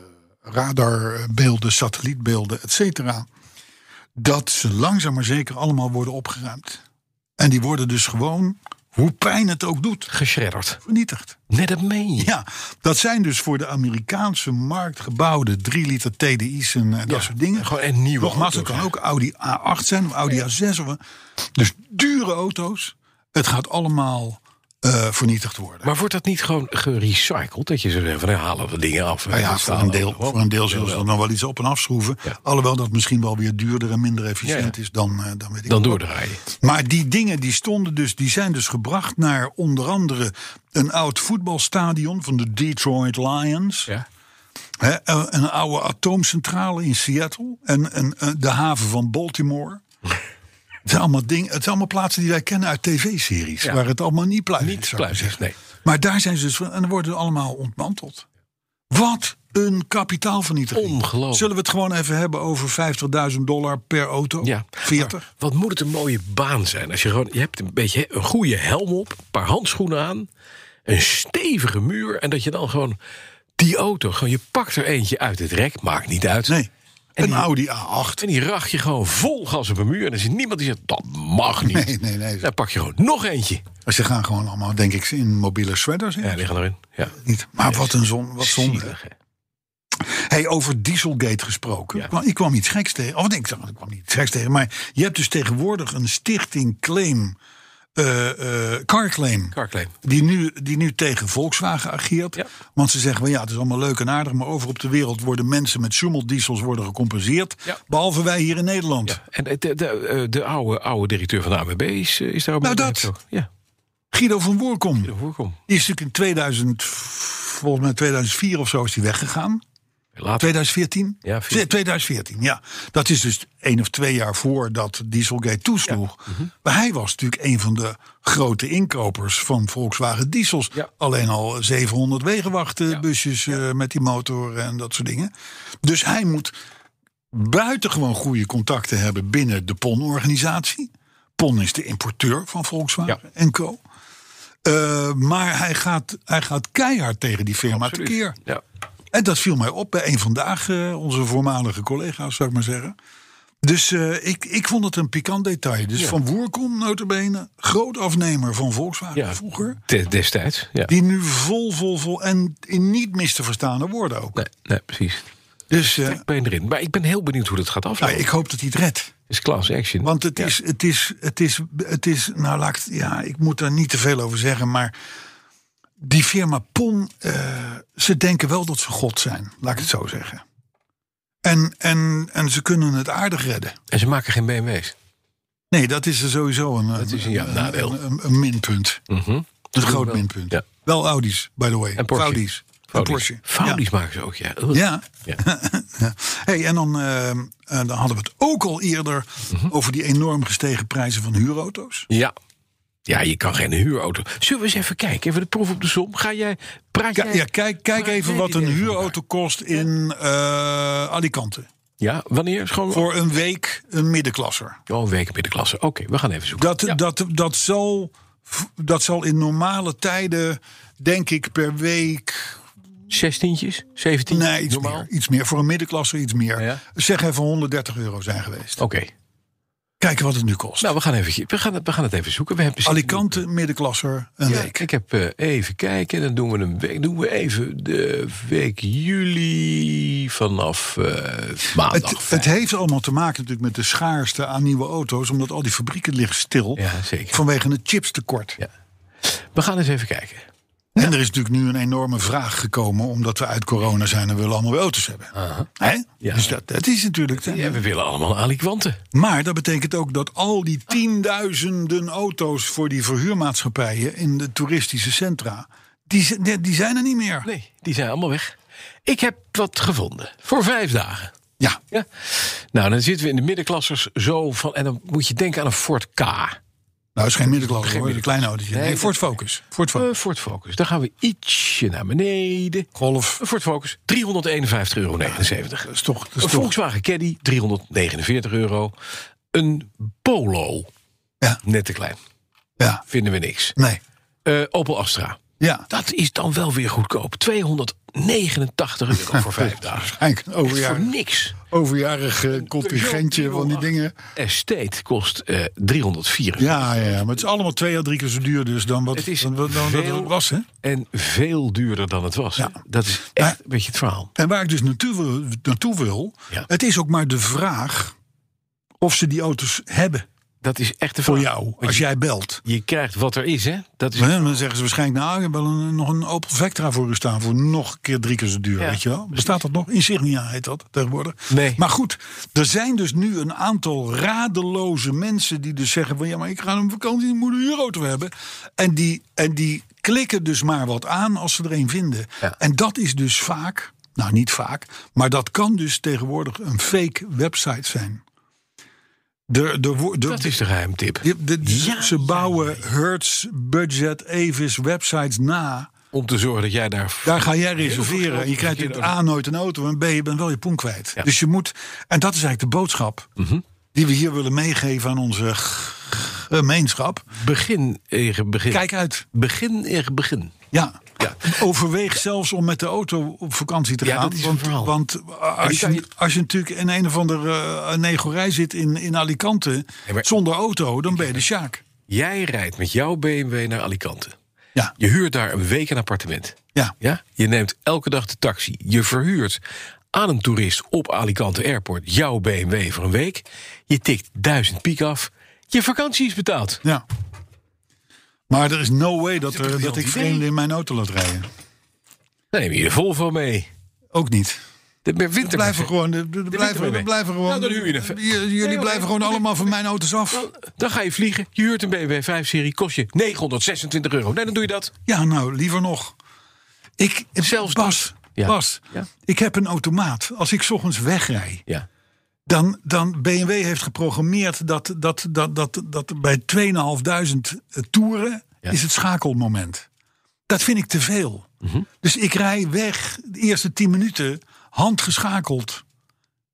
B: radarbeelden, satellietbeelden, et cetera. Dat ze langzaam maar zeker allemaal worden opgeruimd. En die worden dus gewoon, hoe pijn het ook doet,
C: Geschredderd.
B: vernietigd.
C: Net dat meen je.
B: Ja, dat zijn dus voor de Amerikaanse markt gebouwde 3 liter TDI's en eh, dat soort dingen.
C: Gewoon en nieuwe
B: Nogmaals, het
C: auto's,
B: kan ook Audi A8 zijn of Audi A6. Of, een- dus dure auto's. Het gaat allemaal eh, vernietigd worden.
C: Maar wordt dat niet gewoon gerecycled? Dat je zo zegt, van, nou, halen we dingen af.
B: nou ja,
C: Dat
B: voor
C: staan
B: een
C: we
B: deel,
C: gewoon.
B: voor een deel zullen ze er nog wel iets op en afschroeven.
C: Ja.
B: Alhoewel dat misschien wel weer duurder en minder efficiënt
C: Ja, ja.
B: is dan, eh, dan weet ik
C: Dan doordraaien.
B: Maar die dingen die stonden dus, die zijn dus gebracht naar onder andere een oud voetbalstadion van de Detroit Lions.
C: Ja.
B: Hè, een- een oude atoomcentrale in Seattle. En, en eh, de haven van Baltimore. het, zijn allemaal ding, het zijn allemaal plaatsen die wij kennen uit tv-series.
C: Ja.
B: Waar het allemaal niet pluis
C: Niet
B: is, zou ik
C: pluis is,
B: zeggen.
C: nee.
B: Maar daar zijn ze dus van. En dan worden ze allemaal ontmanteld. Wat een kapitaalvernietiging.
C: Ongelooflijk.
B: Zullen we het gewoon even hebben over 50.000 dollar per auto?
C: Ja.
B: 40?
C: Wat moet het een mooie baan zijn. Als je gewoon, je hebt een beetje een goede helm op, een paar handschoenen aan, een stevige muur. En dat je dan gewoon die auto, gewoon je pakt er eentje uit het rek, maakt niet uit.
B: Nee.
C: En
B: een
C: die-
B: Audi A8.
C: En die rach je gewoon vol gas op een muur. En dan is er niemand die zegt, dat mag niet.
B: Nee, nee, nee.
C: Dan pak je gewoon nog eentje.
B: Ze gaan gewoon allemaal, denk ik, in mobiele shredders. in.
C: Ja, die gaan erin. Ja.
B: Niet. Maar wat een zon, wat zonde.
C: Zielig, hè?
B: Hey, over Dieselgate gesproken.
C: Ja.
B: Ik kwam- Ik kwam iets geks tegen. Of nee, ik dacht, ik kwam niet iets geks tegen. Maar je hebt dus tegenwoordig een stichting claim. eh, eh, car claim.
C: Carclaim.
B: Die nu, die nu tegen Volkswagen ageert.
C: Ja.
B: Want ze zeggen, van, ja, het is allemaal leuk en aardig. Maar over op de wereld worden mensen met diesels worden gecompenseerd.
C: Ja.
B: Behalve wij hier in Nederland.
C: Ja. En de, de, de, eh, de oude, oude directeur van de AMB is, eh, is daar ook
B: Nou,
C: mee
B: dat.
C: betrokken. Ja,
B: Guido van Woerkom.
C: de voorkom.
B: Die is natuurlijk in 2000, volgens mij 2004 of zo, is die weggegaan.
C: Later.
B: 2014?
C: Ah, Ja, 14.
B: 2014, ja. Dat is dus één of twee jaar voordat Dieselgate toesloeg.
C: mhm.
B: Maar hij was natuurlijk een van de grote inkopers van Volkswagen diesels.
C: Ja.
B: Alleen al 700 wegenwachtbusjes eh, met die motor en dat soort dingen. Dus hij moet buitengewoon goede contacten hebben binnen de PON-organisatie. PON is de importeur van Volkswagen
C: Ja.
B: en co. Eh, maar hij gaat, hij gaat keihard tegen die firma
C: Absoluut.
B: tekeer.
C: Ja.
B: En dat viel mij op bij een vandaag, eh, onze voormalige collega's, zou ik maar zeggen. Dus eh, ik, ik vond het een pikant detail. Dus Van Woerkom, notabene, groot afnemer van Volkswagen
C: Ja.
B: vroeger.
C: De- destijds. Ja.
B: Die nu vol, vol, vol en in niet mis te verstaande woorden ook.
C: Nee, nee, precies.
B: Dus eh,
C: Trekbeen erin. Maar ik ben heel benieuwd hoe dat gaat aflopen.
B: nou, ik hoop dat hij het redt.
C: Het is class action.
B: Want het, is, het, is, het, is, het is, nou laat ik, het- ja, ik moet er niet te veel over zeggen, maar die firma PON, eh, ze denken wel dat ze God zijn, laat ik het zo zeggen. En, en, en ze kunnen het aardig redden.
C: En ze maken geen BMW's.
B: Nee, dat is er sowieso een, dat
C: is een- ja, nadeel. Mm.
B: een, een- een minpunt. Een groot minpunt.
C: Ja.
B: Wel Audi's, by the way.
C: En Porsche.
B: Audi's. En Porsche.
C: Faudi's maken ze ook, ja. Ugh.
B: Ja.
C: Ja.
B: Ja. Hey, en dan, eh, eh, dan hadden we het ook al eerder
C: Mhm.
B: over die enorm gestegen prijzen van huurauto's.
C: ja. Ja, je kan geen huurauto. Zullen we eens even kijken? Even de proef op de som. Ga jij, praat
B: Ki-
C: jij?
B: ja, kijk, kijk
C: maar
B: even
C: jij
B: wat
C: die
B: een
C: even
B: huurauto kost in eh, Alicante.
C: Ja, wanneer? Schoon...
B: Voor een week een middenklasser.
C: Oh, een week middenklasse. Oké, we gaan even zoeken.
B: Dat,
C: Ja.
B: dat, dat, zal, dat zal in normale tijden, denk ik, per week.
C: Zestientjes? Zeventientjes?
B: Nee, iets
C: normaal?
B: meer, iets meer. Voor een middenklasser iets meer.
C: Ja.
B: Zeg even 130 euro zijn geweest.
C: Oké.
B: Kijken wat het nu kost.
C: Nou, we gaan, even, we, gaan, het- we gaan het even zoeken. We hebben
B: Alicante, middenklasser, een
C: Ja,
B: week.
C: ik heb eh, even kijken. Dan doen we een week. Doen we even de week juli vanaf eh, maandag.
B: Het, het
C: vijf.
B: heeft allemaal te maken natuurlijk met de schaarste aan nieuwe auto's. Omdat al die fabrieken liggen stil.
C: Ja, zeker.
B: Vanwege het chipstekort.
C: Ja. We gaan eens even kijken.
B: En er is natuurlijk nu een enorme vraag gekomen. Omdat we uit corona zijn en we willen allemaal weer auto's hebben. Hè?
C: Ja.
B: Dus dat, dat is natuurlijk...
C: Ja, we willen allemaal alikwanten.
B: Maar dat betekent ook dat al die tienduizenden auto's... voor die verhuurmaatschappijen in de toeristische centra... die, z- die- die zijn er niet meer.
C: Nee, die zijn allemaal weg. Ik heb wat gevonden. Voor vijf dagen.
B: Ja,
C: Ja. Nou, dan zitten we in de middenklassers zo van... En dan moet je denken aan een Ford K.
B: nou is geen middenklasse hoor.
C: midden-
B: Een klein autootje.
C: Nee,
B: Nee,
C: dat-
B: Ford Focus. Ford
C: Eh,
B: Focus.
C: Ford Focus. Dan gaan we ietsje naar beneden.
B: Golf.
C: Een Ford Focus, 351,79 euro.
B: Dat is toch... dat is
C: Een
B: toch-
C: Volkswagen Caddy, 349 euro. Een Polo,
B: Ja.
C: net te klein.
B: Ja,
C: Vinden we niks.
B: nee.
C: Eh, Opel Astra,
B: Ja.
C: dat is dan wel weer goedkoop. 289 euro voor vijf dagen.
B: Eigenlijk
C: Echt
B: een
C: voor
B: overjarig,
C: niks.
B: overjarig eh, contingentje van die dingen.
C: Estate kost eh 304
B: Ja, ja, ja, maar het is allemaal twee à drie keer zo duur dus dan wat
C: Het is
B: dan, wat- dan wat
C: veel-
B: het was. Hè?
C: En veel duurder dan het was.
B: Ja.
C: Dat is echt
B: Maar-
C: een beetje het verhaal.
B: En waar ik dus naartoe wil, naartoe wil
C: Ja.
B: het is ook maar de vraag of ze die auto's hebben
C: Dat is echt de
B: voor
C: vraag.
B: jou
C: Want
B: als
C: je,
B: jij belt.
C: je krijgt wat er is, hè? Dat is
B: Maar Dan zeggen ze waarschijnlijk, nou, ik heb wel een, nog een Opel Vectra voor u staan... voor nog een keer drie keer zo duur,
C: Ja,
B: weet je wel. Bestaat dat nog? Insignia heet dat tegenwoordig.
C: Nee.
B: Maar goed, er zijn dus nu een aantal radeloze mensen... die dus zeggen van, ja, maar ik ga een vakantie, ik moet een huurauto hebben. En die, en die klikken dus maar wat aan als ze er een vinden.
C: Ja.
B: En dat is dus vaak, nou niet vaak... maar dat kan dus tegenwoordig een fake website zijn. De, de, wo- de,
C: Dat is de geheimtip.
B: je- de- de- ze bouwen Hertz, Budget, Avis, websites na.
C: Om te zorgen dat jij daar...
B: Daar ga jij
C: veel
B: reserveren.
C: geld
B: Je krijgt
C: verkeerd
B: natuurlijk A, nooit een auto. En B, je bent wel je poen kwijt. Dus je moet... En dat is eigenlijk de boodschap...
C: Mhm.
B: die we hier willen meegeven aan onze g- gemeenschap.
C: Begin, tegen begin.
B: Kijk uit.
C: Begin, tegen begin.
B: Ja.
C: Ja.
B: Overweeg zelfs om met de auto op vakantie te
C: Ja,
B: gaan.
C: dat is een
B: want
C: verhaal.
B: want als,
C: kan
B: je,
C: je-
B: als je natuurlijk in een of andere eh, negorij zit in, in Alicante...
C: maar-
B: zonder auto, dan ben je de Sjaak.
C: Jij rijdt met jouw BMW naar Alicante.
B: Ja,
C: Je huurt daar een week een appartement.
B: ja.
C: Ja? Je neemt elke dag de taxi. Je verhuurt aan een toerist op Alicante Airport jouw BMW voor een week. Je tikt duizend piek af. Je vakantie is betaald.
B: Ja. Maar er is no way dat, er- dat
C: briljant
B: ik
C: idee.
B: vreemden in mijn auto laat rijden.
C: Dan neem je de Volvo mee.
B: Ook niet.
C: De de winter.
B: Er blijven gewoon. Er, er blijven,
C: mee.
B: er blijven gewoon.
C: Nou, dan huur je een-
B: J- jullie
C: Nee,
B: blijven
C: maar-
B: gewoon allemaal van mijn auto's af.
C: Dan ga je vliegen. Je huurt een BMW 5-serie. Kost je 926 euro. Nee, dan doe je dat.
B: Ja, nou, liever nog. Ik,
C: Zelfs
B: Bas,
C: Ja.
B: Bas,
C: Ja.
B: ik heb een automaat. Als ik 's ochtends wegrij,
C: Ja.
B: dan, dan BMW heeft geprogrammeerd dat, dat, dat, dat, dat bij 2500 toeren
C: Ja.
B: is het schakelmoment. Dat vind ik te veel.
C: Mhm.
B: Dus ik rij weg de eerste 10 minuten handgeschakeld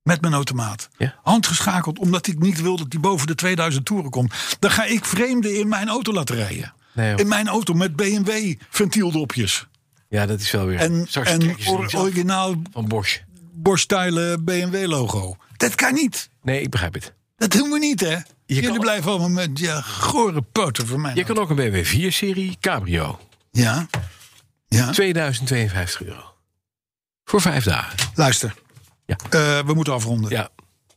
B: met mijn automaat.
C: Ja.
B: Handgeschakeld omdat ik niet wil dat die boven de 2000 toeren komt. Dan ga ik vreemden in mijn auto laten rijden.
C: Nee, joh.
B: in mijn auto met BMW ventieldopjes.
C: ja, dat is wel weer...
B: En,
C: Straks
B: en
C: trek je ze
B: or-
C: niet af
B: originaal
C: van Bosch.
B: borststijlen BMW logo. Dat kan niet.
C: Nee, ik begrijp het.
B: Dat doen we niet, hè? Jullie
C: kan-
B: blijven allemaal met je gore poten voor mij.
C: Je kan ook een BMW 4-serie Cabrio.
B: Ja. Ja.
C: 2052 euro. Voor vijf dagen.
B: Luister. Eh, we moeten afronden.
C: Ja.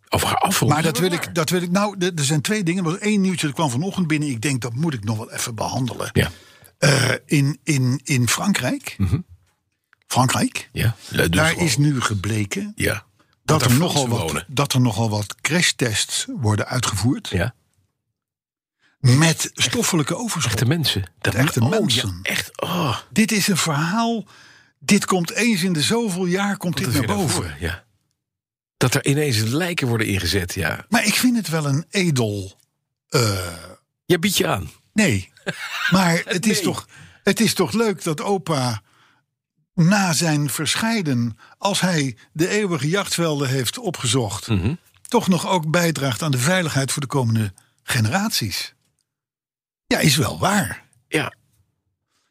C: Of ga afronden.
B: Maar dat wil, ik, dat wil ik. Nou, er er zijn twee dingen. Er was één nieuwtje dat kwam vanochtend binnen. Ik denk dat moet ik nog wel even behandelen.
C: Ja.
B: Eh, in, in, in Frankrijk. Frankrijk.
C: Ja. Ja, Mhm. dus
B: daar
C: gewoon.
B: is nu gebleken
C: Ja.
B: dat
C: daar
B: er, nogal
C: Fransen
B: wat,
C: wonen.
B: dat er nogal wat crashtests worden uitgevoerd.
C: Ja.
B: Met stoffelijke overschot.
C: Echte mensen. Dat
B: echte
C: oh,
B: mensen.
C: Ja, echt. Oh,
B: Dit is een verhaal. Dit komt eens in de zoveel jaar komt
C: dat
B: dit
C: is
B: naar
C: weer naar
B: boven.
C: voren, Ja. Dat er ineens lijken worden ingezet. Ja.
B: Maar ik vind het wel een edel. eh,
C: Ja, bied je aan.
B: nee. Maar het, is
C: Nee.
B: toch, het is toch leuk dat opa na zijn verscheiden, als hij de eeuwige jachtvelden heeft opgezocht, toch nog ook bijdraagt aan de veiligheid voor de komende generaties. Ja, is wel waar.
C: Ja.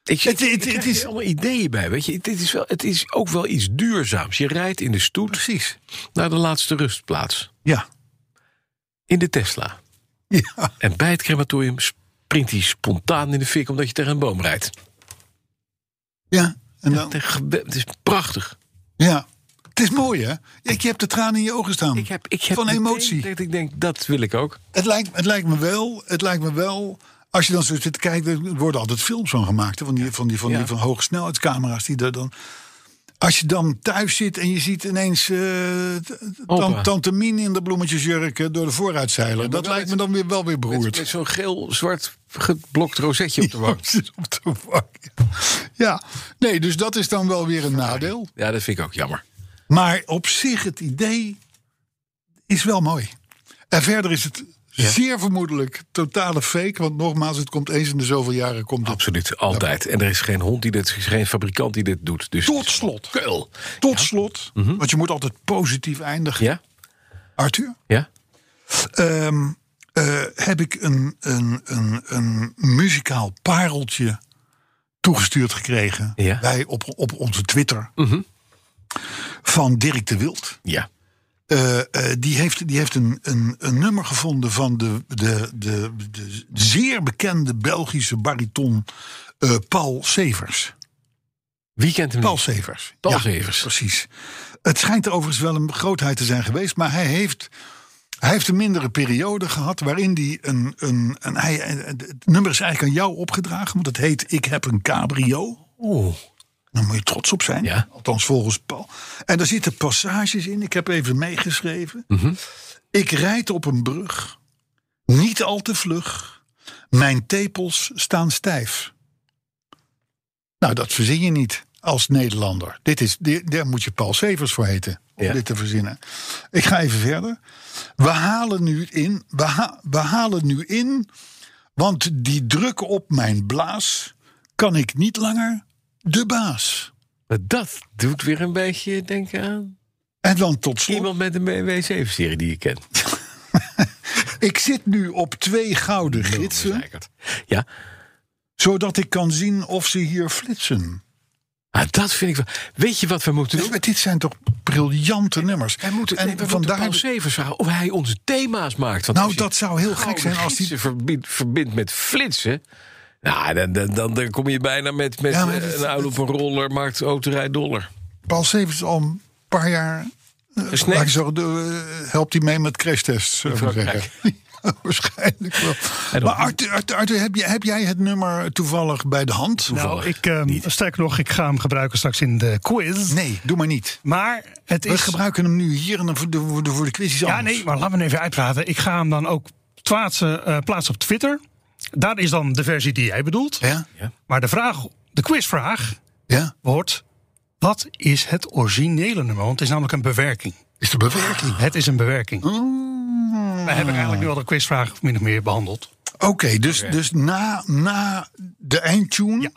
C: Ik,
B: Het-
C: het,
B: het-
C: ik,
B: het
C: krijg
B: is-
C: hier allemaal ideeën bij, weet je. Dit is wel, het is ook wel iets duurzaams. Je rijdt in de stoet
B: Precies.
C: naar de laatste rustplaats.
B: Ja.
C: In de Tesla.
B: ja.
C: En bij het crematorium springt hij spontaan in de fik... omdat je tegen een boom rijdt.
B: Ja. En dan,
C: Het is gebe- Het is prachtig.
B: ja. Het is mooi, hè? Ik heb de tranen in je ogen staan.
C: Ik heb, ik heb
B: Van
C: meteen
B: emotie.
C: Dat ik denk, dat wil ik ook.
B: Het lijkt, het lijkt me wel, het lijkt me wel. Als je dan zo zit te kijken, er worden altijd films van gemaakt. hè, Van die, van die, van die,
C: Ja.
B: van hoge snelheidscamera's die daar dan. Als je dan thuis zit en je ziet ineens eh, t-
C: Opa.
B: tan- tante Mien in de bloemetjesjurk eh, door de vooruit zeilen. dat
C: wel
B: lijkt me
C: met-
B: dan weer wel weer
C: Met,
B: beroerd.
C: met zo'n geel-zwart geblokt rosetje op de wang.
B: Zit op de bank. Ja, nee, dus dat is dan wel weer een nadeel.
C: Ja, dat vind ik ook jammer.
B: Maar op zich, het idee is wel mooi. En verder is het zeer vermoedelijk totale fake. Want nogmaals, het komt eens in de zoveel jaren. Komt het.
C: Absoluut, altijd. En er is geen hond die dit, er is geen fabrikant die dit doet. Dus
B: Tot slot.
C: Keul.
B: Tot slot, want je moet altijd positief eindigen.
C: Mhm. Ja?
B: Arthur,
C: Ja?
B: ehm, eh, heb ik een, een, een, een muzikaal pareltje toegestuurd gekregen.
C: Ja. Mhm.
B: Bij, op, op onze Twitter. Van Dirk de Wild.
C: Ja.
B: Eh, eh, die heeft, die heeft een, een, een nummer gevonden van de, de, de, de zeer bekende Belgische bariton eh, Paul Severs.
C: Wie kent hem
B: Paul
C: niet?
B: Severs.
C: Paul
B: Ja,
C: Severs.
B: Precies. Het schijnt overigens wel een grootheid te zijn geweest, maar hij heeft, hij heeft een mindere periode gehad waarin hij een. een, een hij, eh, het nummer is eigenlijk aan jou opgedragen, want het heet Ik heb een cabrio.
C: Oeh.
B: Daar moet je trots op zijn.
C: Ja.
B: Althans, volgens Paul. En daar zitten passages in. Ik heb even meegeschreven.
C: Mhm.
B: Ik rijd op een brug. Niet al te vlug. Mijn tepels staan stijf. Nou, dat verzin je niet als Nederlander. Dit is, di- daar moet je Paul Severs voor heten. Om
C: Ja.
B: dit te verzinnen. Ik ga even verder. We halen nu in. We, ha- we halen nu in. Want die druk op mijn blaas. Kan ik niet langer de baas.
C: Maar Dat doet weer een beetje denken aan
B: En dan tot slot.
C: iemand met een BMW 7-serie die je kent.
B: Ik zit nu op twee gouden gidsen.
C: Zeikert. Ja,
B: Zodat ik kan zien of ze hier flitsen.
C: ah, dat vind ik wel. Weet je wat we moeten
B: Dus,
C: doen?
B: maar dit zijn toch briljante nummers.
C: Wij moeten,
B: en
C: nee, we moeten
B: vandaar
C: Paul Severs vragen of hij onze thema's maakt. Want
B: Nou,
C: als je
B: dat zou heel gek
C: gouden
B: zijn als die-
C: gidsen verbindt, verbindt met flitsen. Nou, dan, dan, dan, dan kom je bijna met, met
B: Ja, maar
C: eh,
B: dat-
C: een oude op een roller, maakt autorij dollar.
B: Paul Severs is al een paar jaar. eh,
C: Gesneden.
B: laat ik zeggen, de, eh, helpt hij mee met crashtests? zou ik maar
C: Frankrijk.
B: zeggen. Ja, Waarschijnlijk wel.
C: En dan-
B: Maar Arthur, Arthur, Arthur, heb, jij, heb jij het nummer toevallig bij de hand?
C: Toevallig.
H: Ik, ehm, sterker nog, ik ga hem gebruiken straks in de quiz.
B: Nee, doe maar niet.
H: Maar het
B: We
H: is...
B: gebruiken hem nu hier en dan voor de, voor de, voor de quiz is
H: ja,
B: anders.
H: nee, maar laat me even uitpraten. Ik ga hem dan ook plaatsen, eh, plaatsen op Twitter. Daar is dan de versie die jij bedoelt.
B: Ja?
H: Maar de vraag, de quizvraag
B: ja?
H: wordt... Wat is het originele nummer? Want het is namelijk een bewerking.
B: Is de bewerking.
H: Het is een bewerking.
B: Ah.
H: Daar heb ik eigenlijk nu al de quizvraag min of meer behandeld.
B: Oké, dus, dus na, na de eindtune
H: Ja.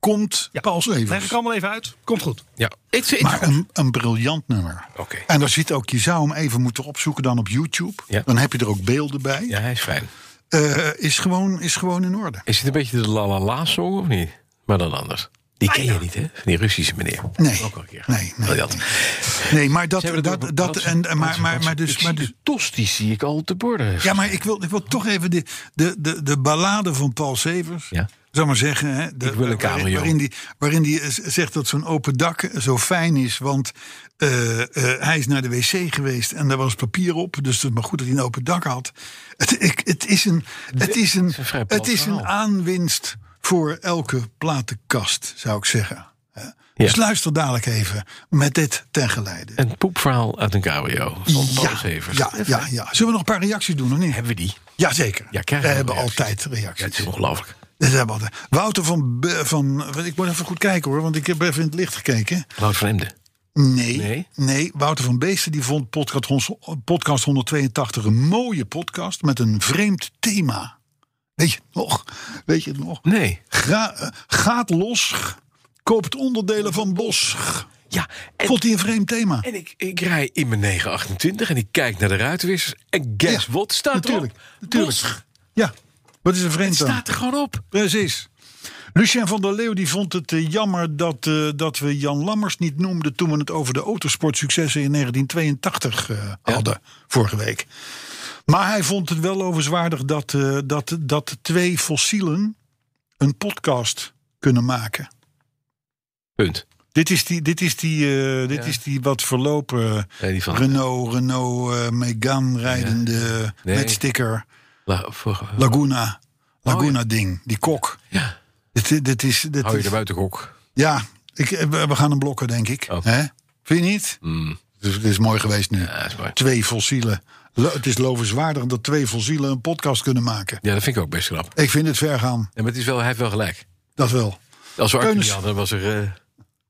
B: komt
H: Ja.
B: Paul
H: Leg
B: Severs.
H: ik allemaal even uit. Komt goed.
C: Ja, ik, ik,
B: Maar een, een briljant nummer.
C: Oké.
B: En daar zit ook, je zou hem even moeten opzoeken dan op YouTube.
C: Ja.
B: Dan heb je er ook beelden bij.
C: ja, hij is fijn.
B: Eh, is, gewoon, is gewoon in orde.
C: Is het een beetje de La La La song of niet? Maar dan anders. Die ken je niet, hè? Die Russische meneer.
B: Ah, Nee.
C: Ook al een keer. Oh,
B: Nee, nee,
C: Briljant.
B: Nee, maar dat.
C: Ze hebben het
B: dat,
C: over
B: dat
C: bratsen,
B: en, en- maar,
C: bratsen,
B: maar, maar,
C: bratsen.
B: dus,
C: Ik
B: maar
C: zie
B: dus.
C: de tos, die zie ik al te borden.
B: Ja, maar ik wil, ik wil toch even de, de, de, de ballade van Paul Severs.
C: Ja.
B: Zou maar zeggen, hè, de,
C: Ik wil een
B: waarin-
C: cabrio.
B: Waarin die, waarin die eh, zegt dat zo'n open dak zo fijn is. Want Eh, eh, hij is naar de wc geweest en daar was papier op. Dus het is maar goed dat hij een open dak had. Het, ik, het is een, het is een,
C: is een vrij plat
B: het is een
C: verhaal.
B: aanwinst voor elke platenkast, zou ik zeggen. Eh, Dus luister dadelijk even met dit ten geleide.
C: Een poepverhaal uit een cabrio. Van Paul Severs.
B: ja, ja, ja. Zullen we nog een paar reacties doen of niet?
C: Hebben we die?
B: Jazeker.
C: Ja,
B: we
C: krijgen we
B: hebben
C: reacties.
B: altijd
C: Ja, het
B: reacties.
C: is ongelooflijk.
B: Dat hebben we altijd. Wouter van, Be- van... Ik moet even goed kijken hoor, want ik heb even in het licht gekeken.
C: Wout van Emden.
B: Nee,
C: Nee?
B: nee. Wouter van Beesten die vond podcast, hons- podcast 182 een mooie podcast met een vreemd thema. Weet je het nog? Weet je het nog?
C: Nee.
B: Gra- eh, gaat los, koopt onderdelen van Bos.
C: Ja, en,
B: Vond hij een vreemd thema?
C: en ik, ik rij in mijn 928 en ik kijk naar de ruitenwissers. En guess
B: Ja,
C: what staat
B: natuurlijk,
C: erop?
B: natuurlijk.
C: Bosch
B: Ja, wat is een vreemd thema?
C: staat er gewoon op.
B: Precies. Lucien van der Leeuw die vond het eh, jammer dat, eh, dat we Jan Lammers niet noemden toen we het over de autosportsuccessen in 1982 eh, hadden vorige week. Maar hij vond het wel overzwaardig dat, eh, dat, dat twee fossielen een podcast kunnen maken.
C: Punt.
B: Dit is die, dit is die, eh, dit is die wat verlopen
C: Nee, die van...
B: Renault, Renault eh Megane rijdende
C: Nee.
B: met sticker
C: La- voor-
B: Laguna, Laguna ding, die kok.
C: ja.
B: Dit, dit is, dit
C: Hou je
B: is-
C: er buiten gok.
B: Ja, ik, eh, we we gaan hem blokken, denk ik.
C: Oh.
B: Hè? Vind je niet?
C: Mm.
B: Dus het is mooi geweest nu.
C: Ja, dat is mooi.
B: Twee fossielen. Lo- het is lovenswaardig dat twee fossielen een podcast kunnen maken.
C: Ja, dat vind ik ook best knap.
B: Ik vind het ver gaan,
C: En maar het is wel, hij heeft wel gelijk.
B: dat wel.
C: Als we Arthur
B: Keunis.
C: niet hadden, was er, eh,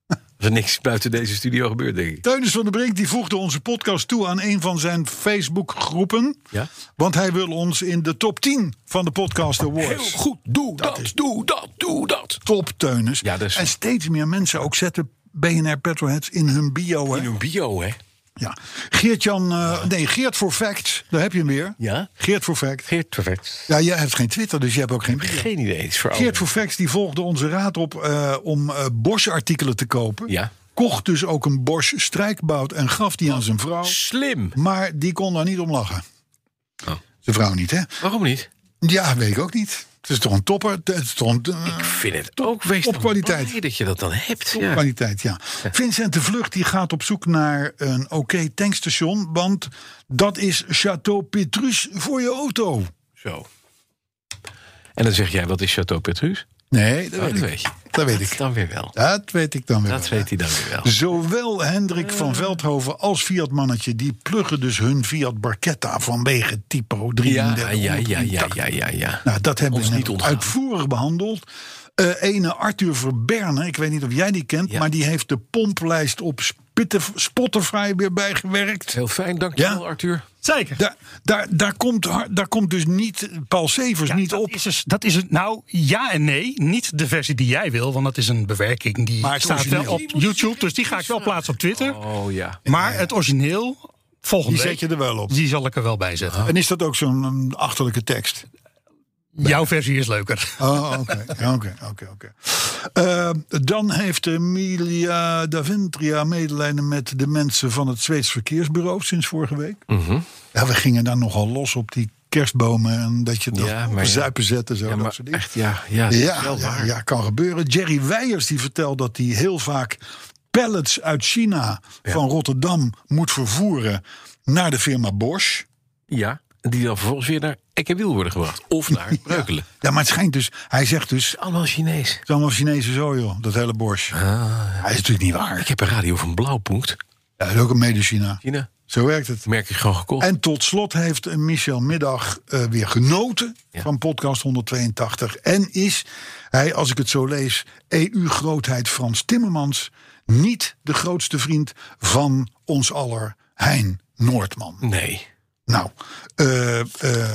C: was er niks buiten deze studio gebeurd, denk ik.
B: Teunis van der Brink die voegde onze podcast toe aan een van zijn Facebookgroepen.
C: Ja?
B: Want hij wil ons in de top 10 van de Podcast Awards.
C: goed, doe dat, doe dat, doe dat.
B: Top Teunis.
C: Ja, dus- dat is-
B: En steeds meer mensen ook zetten BNR Petroheads in hun bio. Hè?
C: In een bio, hè?
B: Ja. Geert-Jan, eh, nee, Geert voor Facts, daar heb je hem weer.
C: Ja?
B: Geert voor Facts.
C: Geert Perfect.
B: Ja, jij hebt geen Twitter, dus je hebt ook geen bio.
C: Geen idee, het is voor
B: Geert
C: ouderen.
B: Vervex die volgde onze raad op eh, om eh Bosch artikelen te kopen.
C: Ja.
B: Kocht dus ook een Bosch strijkbout en gaf die aan zijn vrouw.
C: Slim.
B: Maar die kon daar niet om lachen.
C: Oh.
B: Zijn vrouw niet, hè?
C: Waarom niet?
B: Ja, weet ik ook niet. Het is toch een topper. Het is toch een eh,
C: Ik vind het ook wees
B: op
C: dan
B: kwaliteit.
C: blij dat je dat dan hebt. Ja.
B: kwaliteit, ja. Vincent de Vlucht die gaat op zoek naar een oké tankstation. Want dat is Chateau Petrus voor je auto.
C: Zo. En dan zeg jij, wat is Chateau Petrus?
B: Nee, dat,
C: Oh,
B: weet,
C: dat
B: ik.
C: weet je.
B: dat weet ik.
C: Dan weer wel.
B: Dat weet ik dan weer.
C: Dat
B: wel,
C: weet
B: ja. Dus
C: hij dan weer wel.
B: Zowel Hendrik
H: Eh.
B: van Veldhoven als Fiat Mannetje... die pluggen dus hun Fiat Barchetta vanwege typo 33.
C: Ja, ja, ja, ja, ja, ja, ja.
B: Nou, dat hebben
C: Ons
B: we
C: niet
B: net
C: ontgaan.
B: uitvoerig behandeld. Eh ene Arthur Verberne, ik weet niet of jij die kent...
C: Ja.
B: maar die heeft de pomplijst op Spitte- Spotify weer bijgewerkt.
C: Heel fijn, dankjewel
B: Ja.
C: Arthur.
H: Zeker.
B: Daar, daar, daar, komt, har- daar komt dus niet Paul Severs
H: Ja,
B: niet
H: dat
B: op.
H: Is dus, dat is het. Nou, ja en nee. Niet de versie die jij wil, want dat is een bewerking die
B: Maar het
H: staat
B: origineel.
H: wel op YouTube. Dus die ga ik wel plaatsen op Twitter.
C: Oh ja.
H: Maar het origineel, volgende
B: Die zet je
H: week,
B: er wel op.
H: die zal ik er wel bij zetten.
B: En is dat ook zo'n mm, achterlijke tekst?
H: Jouw versie is leuker.
B: Oh, oké, ja, oké, oké, oké. Eh, Dan heeft Emilia Daventria medelijden met de mensen van het Zweeds Verkeersbureau sinds vorige week.
C: Mhm.
B: Ja, we gingen daar nogal los op die kerstbomen en dat je dat
C: Ja,
B: op
C: maar ja.
B: zuipen zet en zo,
C: Ja,
B: dat
C: maar
B: soort dingen.
C: echt, ja, ja, dat is
B: Ja,
C: wel
B: ja,
C: waar.
B: ja, kan gebeuren. Jerry Weijers die vertelt dat hij heel vaak pallets uit China van Rotterdam moet vervoeren naar de firma Bosch.
C: Ja, die dan vervolgens weer naar Ekkewiel worden gebracht. Of naar Breukelen.
B: Ja, maar het schijnt dus, hij zegt dus,
C: Allemaal Chinees.
B: Het is allemaal Chinese zo, joh, dat hele Bosch.
C: Ah,
B: Hij is natuurlijk niet waar.
C: Ik heb een radio van Blauwpunkt.
B: Ja, dat is ook een mede-China.
C: China,
B: Zo werkt het.
C: merk ik gewoon gekocht.
B: En tot slot heeft Michel Middag eh, weer genoten
C: Ja.
B: van podcast 182. En is hij, als ik het zo lees, EU-grootheid Frans Timmermans... niet de grootste vriend van ons aller Hein Noordman.
C: Nee,
B: Nou, eh, eh,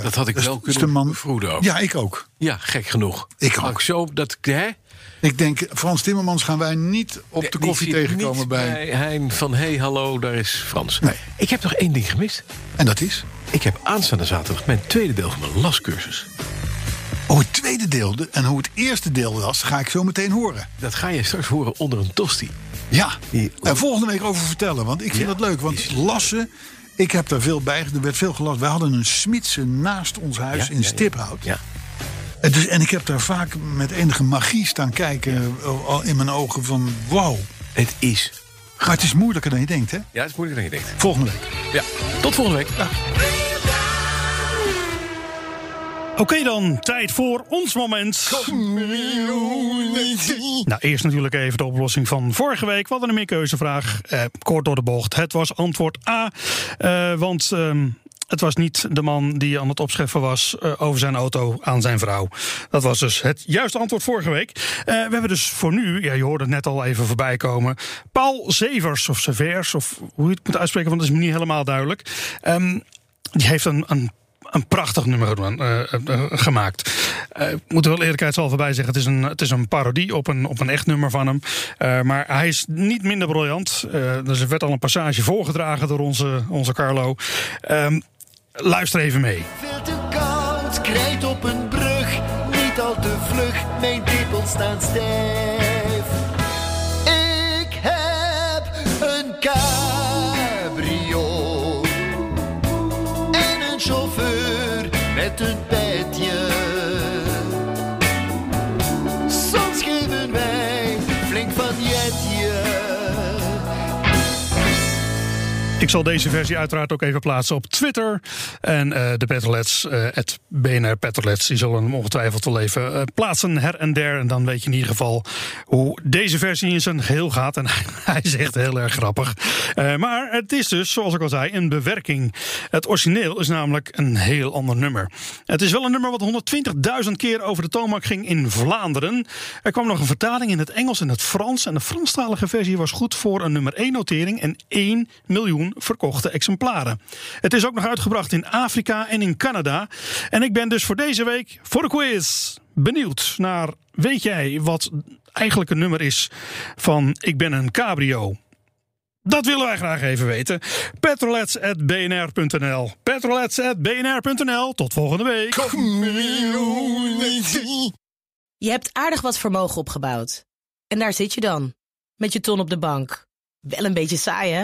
C: dat had ik
B: is-
C: wel
B: is
C: kunnen
B: de man-
C: bevroeden ook. Ja.
B: Ja, ik ook.
C: gek genoeg.
B: Ik ook.
C: Had zo, dat, hè?
B: Ik denk, Frans Timmermans gaan wij niet op de
C: Die
B: koffie
C: zit
B: tegenkomen
C: niet
B: bij...
C: Hein van hey, hallo, daar is Frans.
B: Nee.
C: Ik heb nog één ding gemist.
B: En dat is...
C: Ik heb aanstaande zaterdag mijn tweede deel van mijn lascursus.
B: Oh, het tweede deel de- en hoe het eerste deel was, ga ik zo meteen horen.
C: Dat ga je straks horen onder een tosti.
B: Ja,
C: Die-
B: en volgende week over vertellen, want ik vind
C: Ja,
B: dat leuk. Want
C: die
B: lassen, ik heb daar veel bij, er werd veel gelast. Wij hadden een smidse naast ons huis
C: Ja,
B: Dus in
C: ja, ja.
B: Stiphout.
C: Ja.
B: En, dus, en ik heb daar vaak met enige magie staan kijken eh, al in mijn ogen van wauw.
C: Het is
B: Maar het is moeilijker dan je denkt, hè?
C: Ja, dat is moeilijker dan je denkt.
B: Volgende week.
C: Ja, tot volgende week. Dag.
H: Oké dan, tijd voor ons moment. Nou, eerst natuurlijk even de oplossing van vorige week. We hadden een meerkeuzevraag. Eh, kort door de bocht. Het was antwoord A. Eh, want ehm, het was niet de man die aan het opscheffen was eh, over zijn auto aan zijn vrouw. Dat was dus het juiste antwoord vorige week. Eh, we hebben dus voor nu, ja, je hoorde het net al even voorbij komen. Paul Zevers of Severs, of hoe je het moet uitspreken, want dat is me niet helemaal duidelijk. Ehm, die heeft een, een, een prachtig nummer gedaan, eh, eh, eh, gemaakt. Eh, ik moet er wel eerlijkheidshalve bij zeggen, het is een, het is een parodie op een, op een echt nummer van hem. Eh, maar hij is niet minder briljant. Eh, dus er werd al een passage voorgedragen door onze, onze Carlo. Ehm, luister even mee.
D: Veel te koud, krijt op een brug. Niet al te vlug, mijn tepels staan stijf. Ik heb een cabrio. En een chauffeur met een petje. Soms geven wij flink van jetje.
H: Ik zal deze versie uiteraard ook even plaatsen op Twitter. En eh, de Petrolets, eh het BNR Petrolets, die zullen hem ongetwijfeld wel even eh, plaatsen her en der. En dan weet je in ieder geval hoe deze versie in zijn geheel gaat. En hij is echt heel erg grappig. Eh, maar het is dus, zoals ik al zei, een bewerking. Het origineel is namelijk een heel ander nummer. Het is wel een nummer wat 120.000 keer over de toonbank ging in Vlaanderen. Er kwam nog een vertaling in het Engels en het Frans. En de Franstalige versie was goed voor een nummer 1 notering en 1 miljoen verkochte exemplaren. Het is ook nog uitgebracht in Afrika en in Canada. En ik ben dus voor deze week voor de quiz benieuwd naar... weet jij wat eigenlijk een nummer is van Ik ben een cabrio... Dat willen wij graag even weten. Petrolets.bnr.nl Petrolets.bnr.nl Tot volgende week.
I: Je hebt aardig wat vermogen opgebouwd. En daar zit je dan, met je ton op de bank. Wel een beetje saai, hè?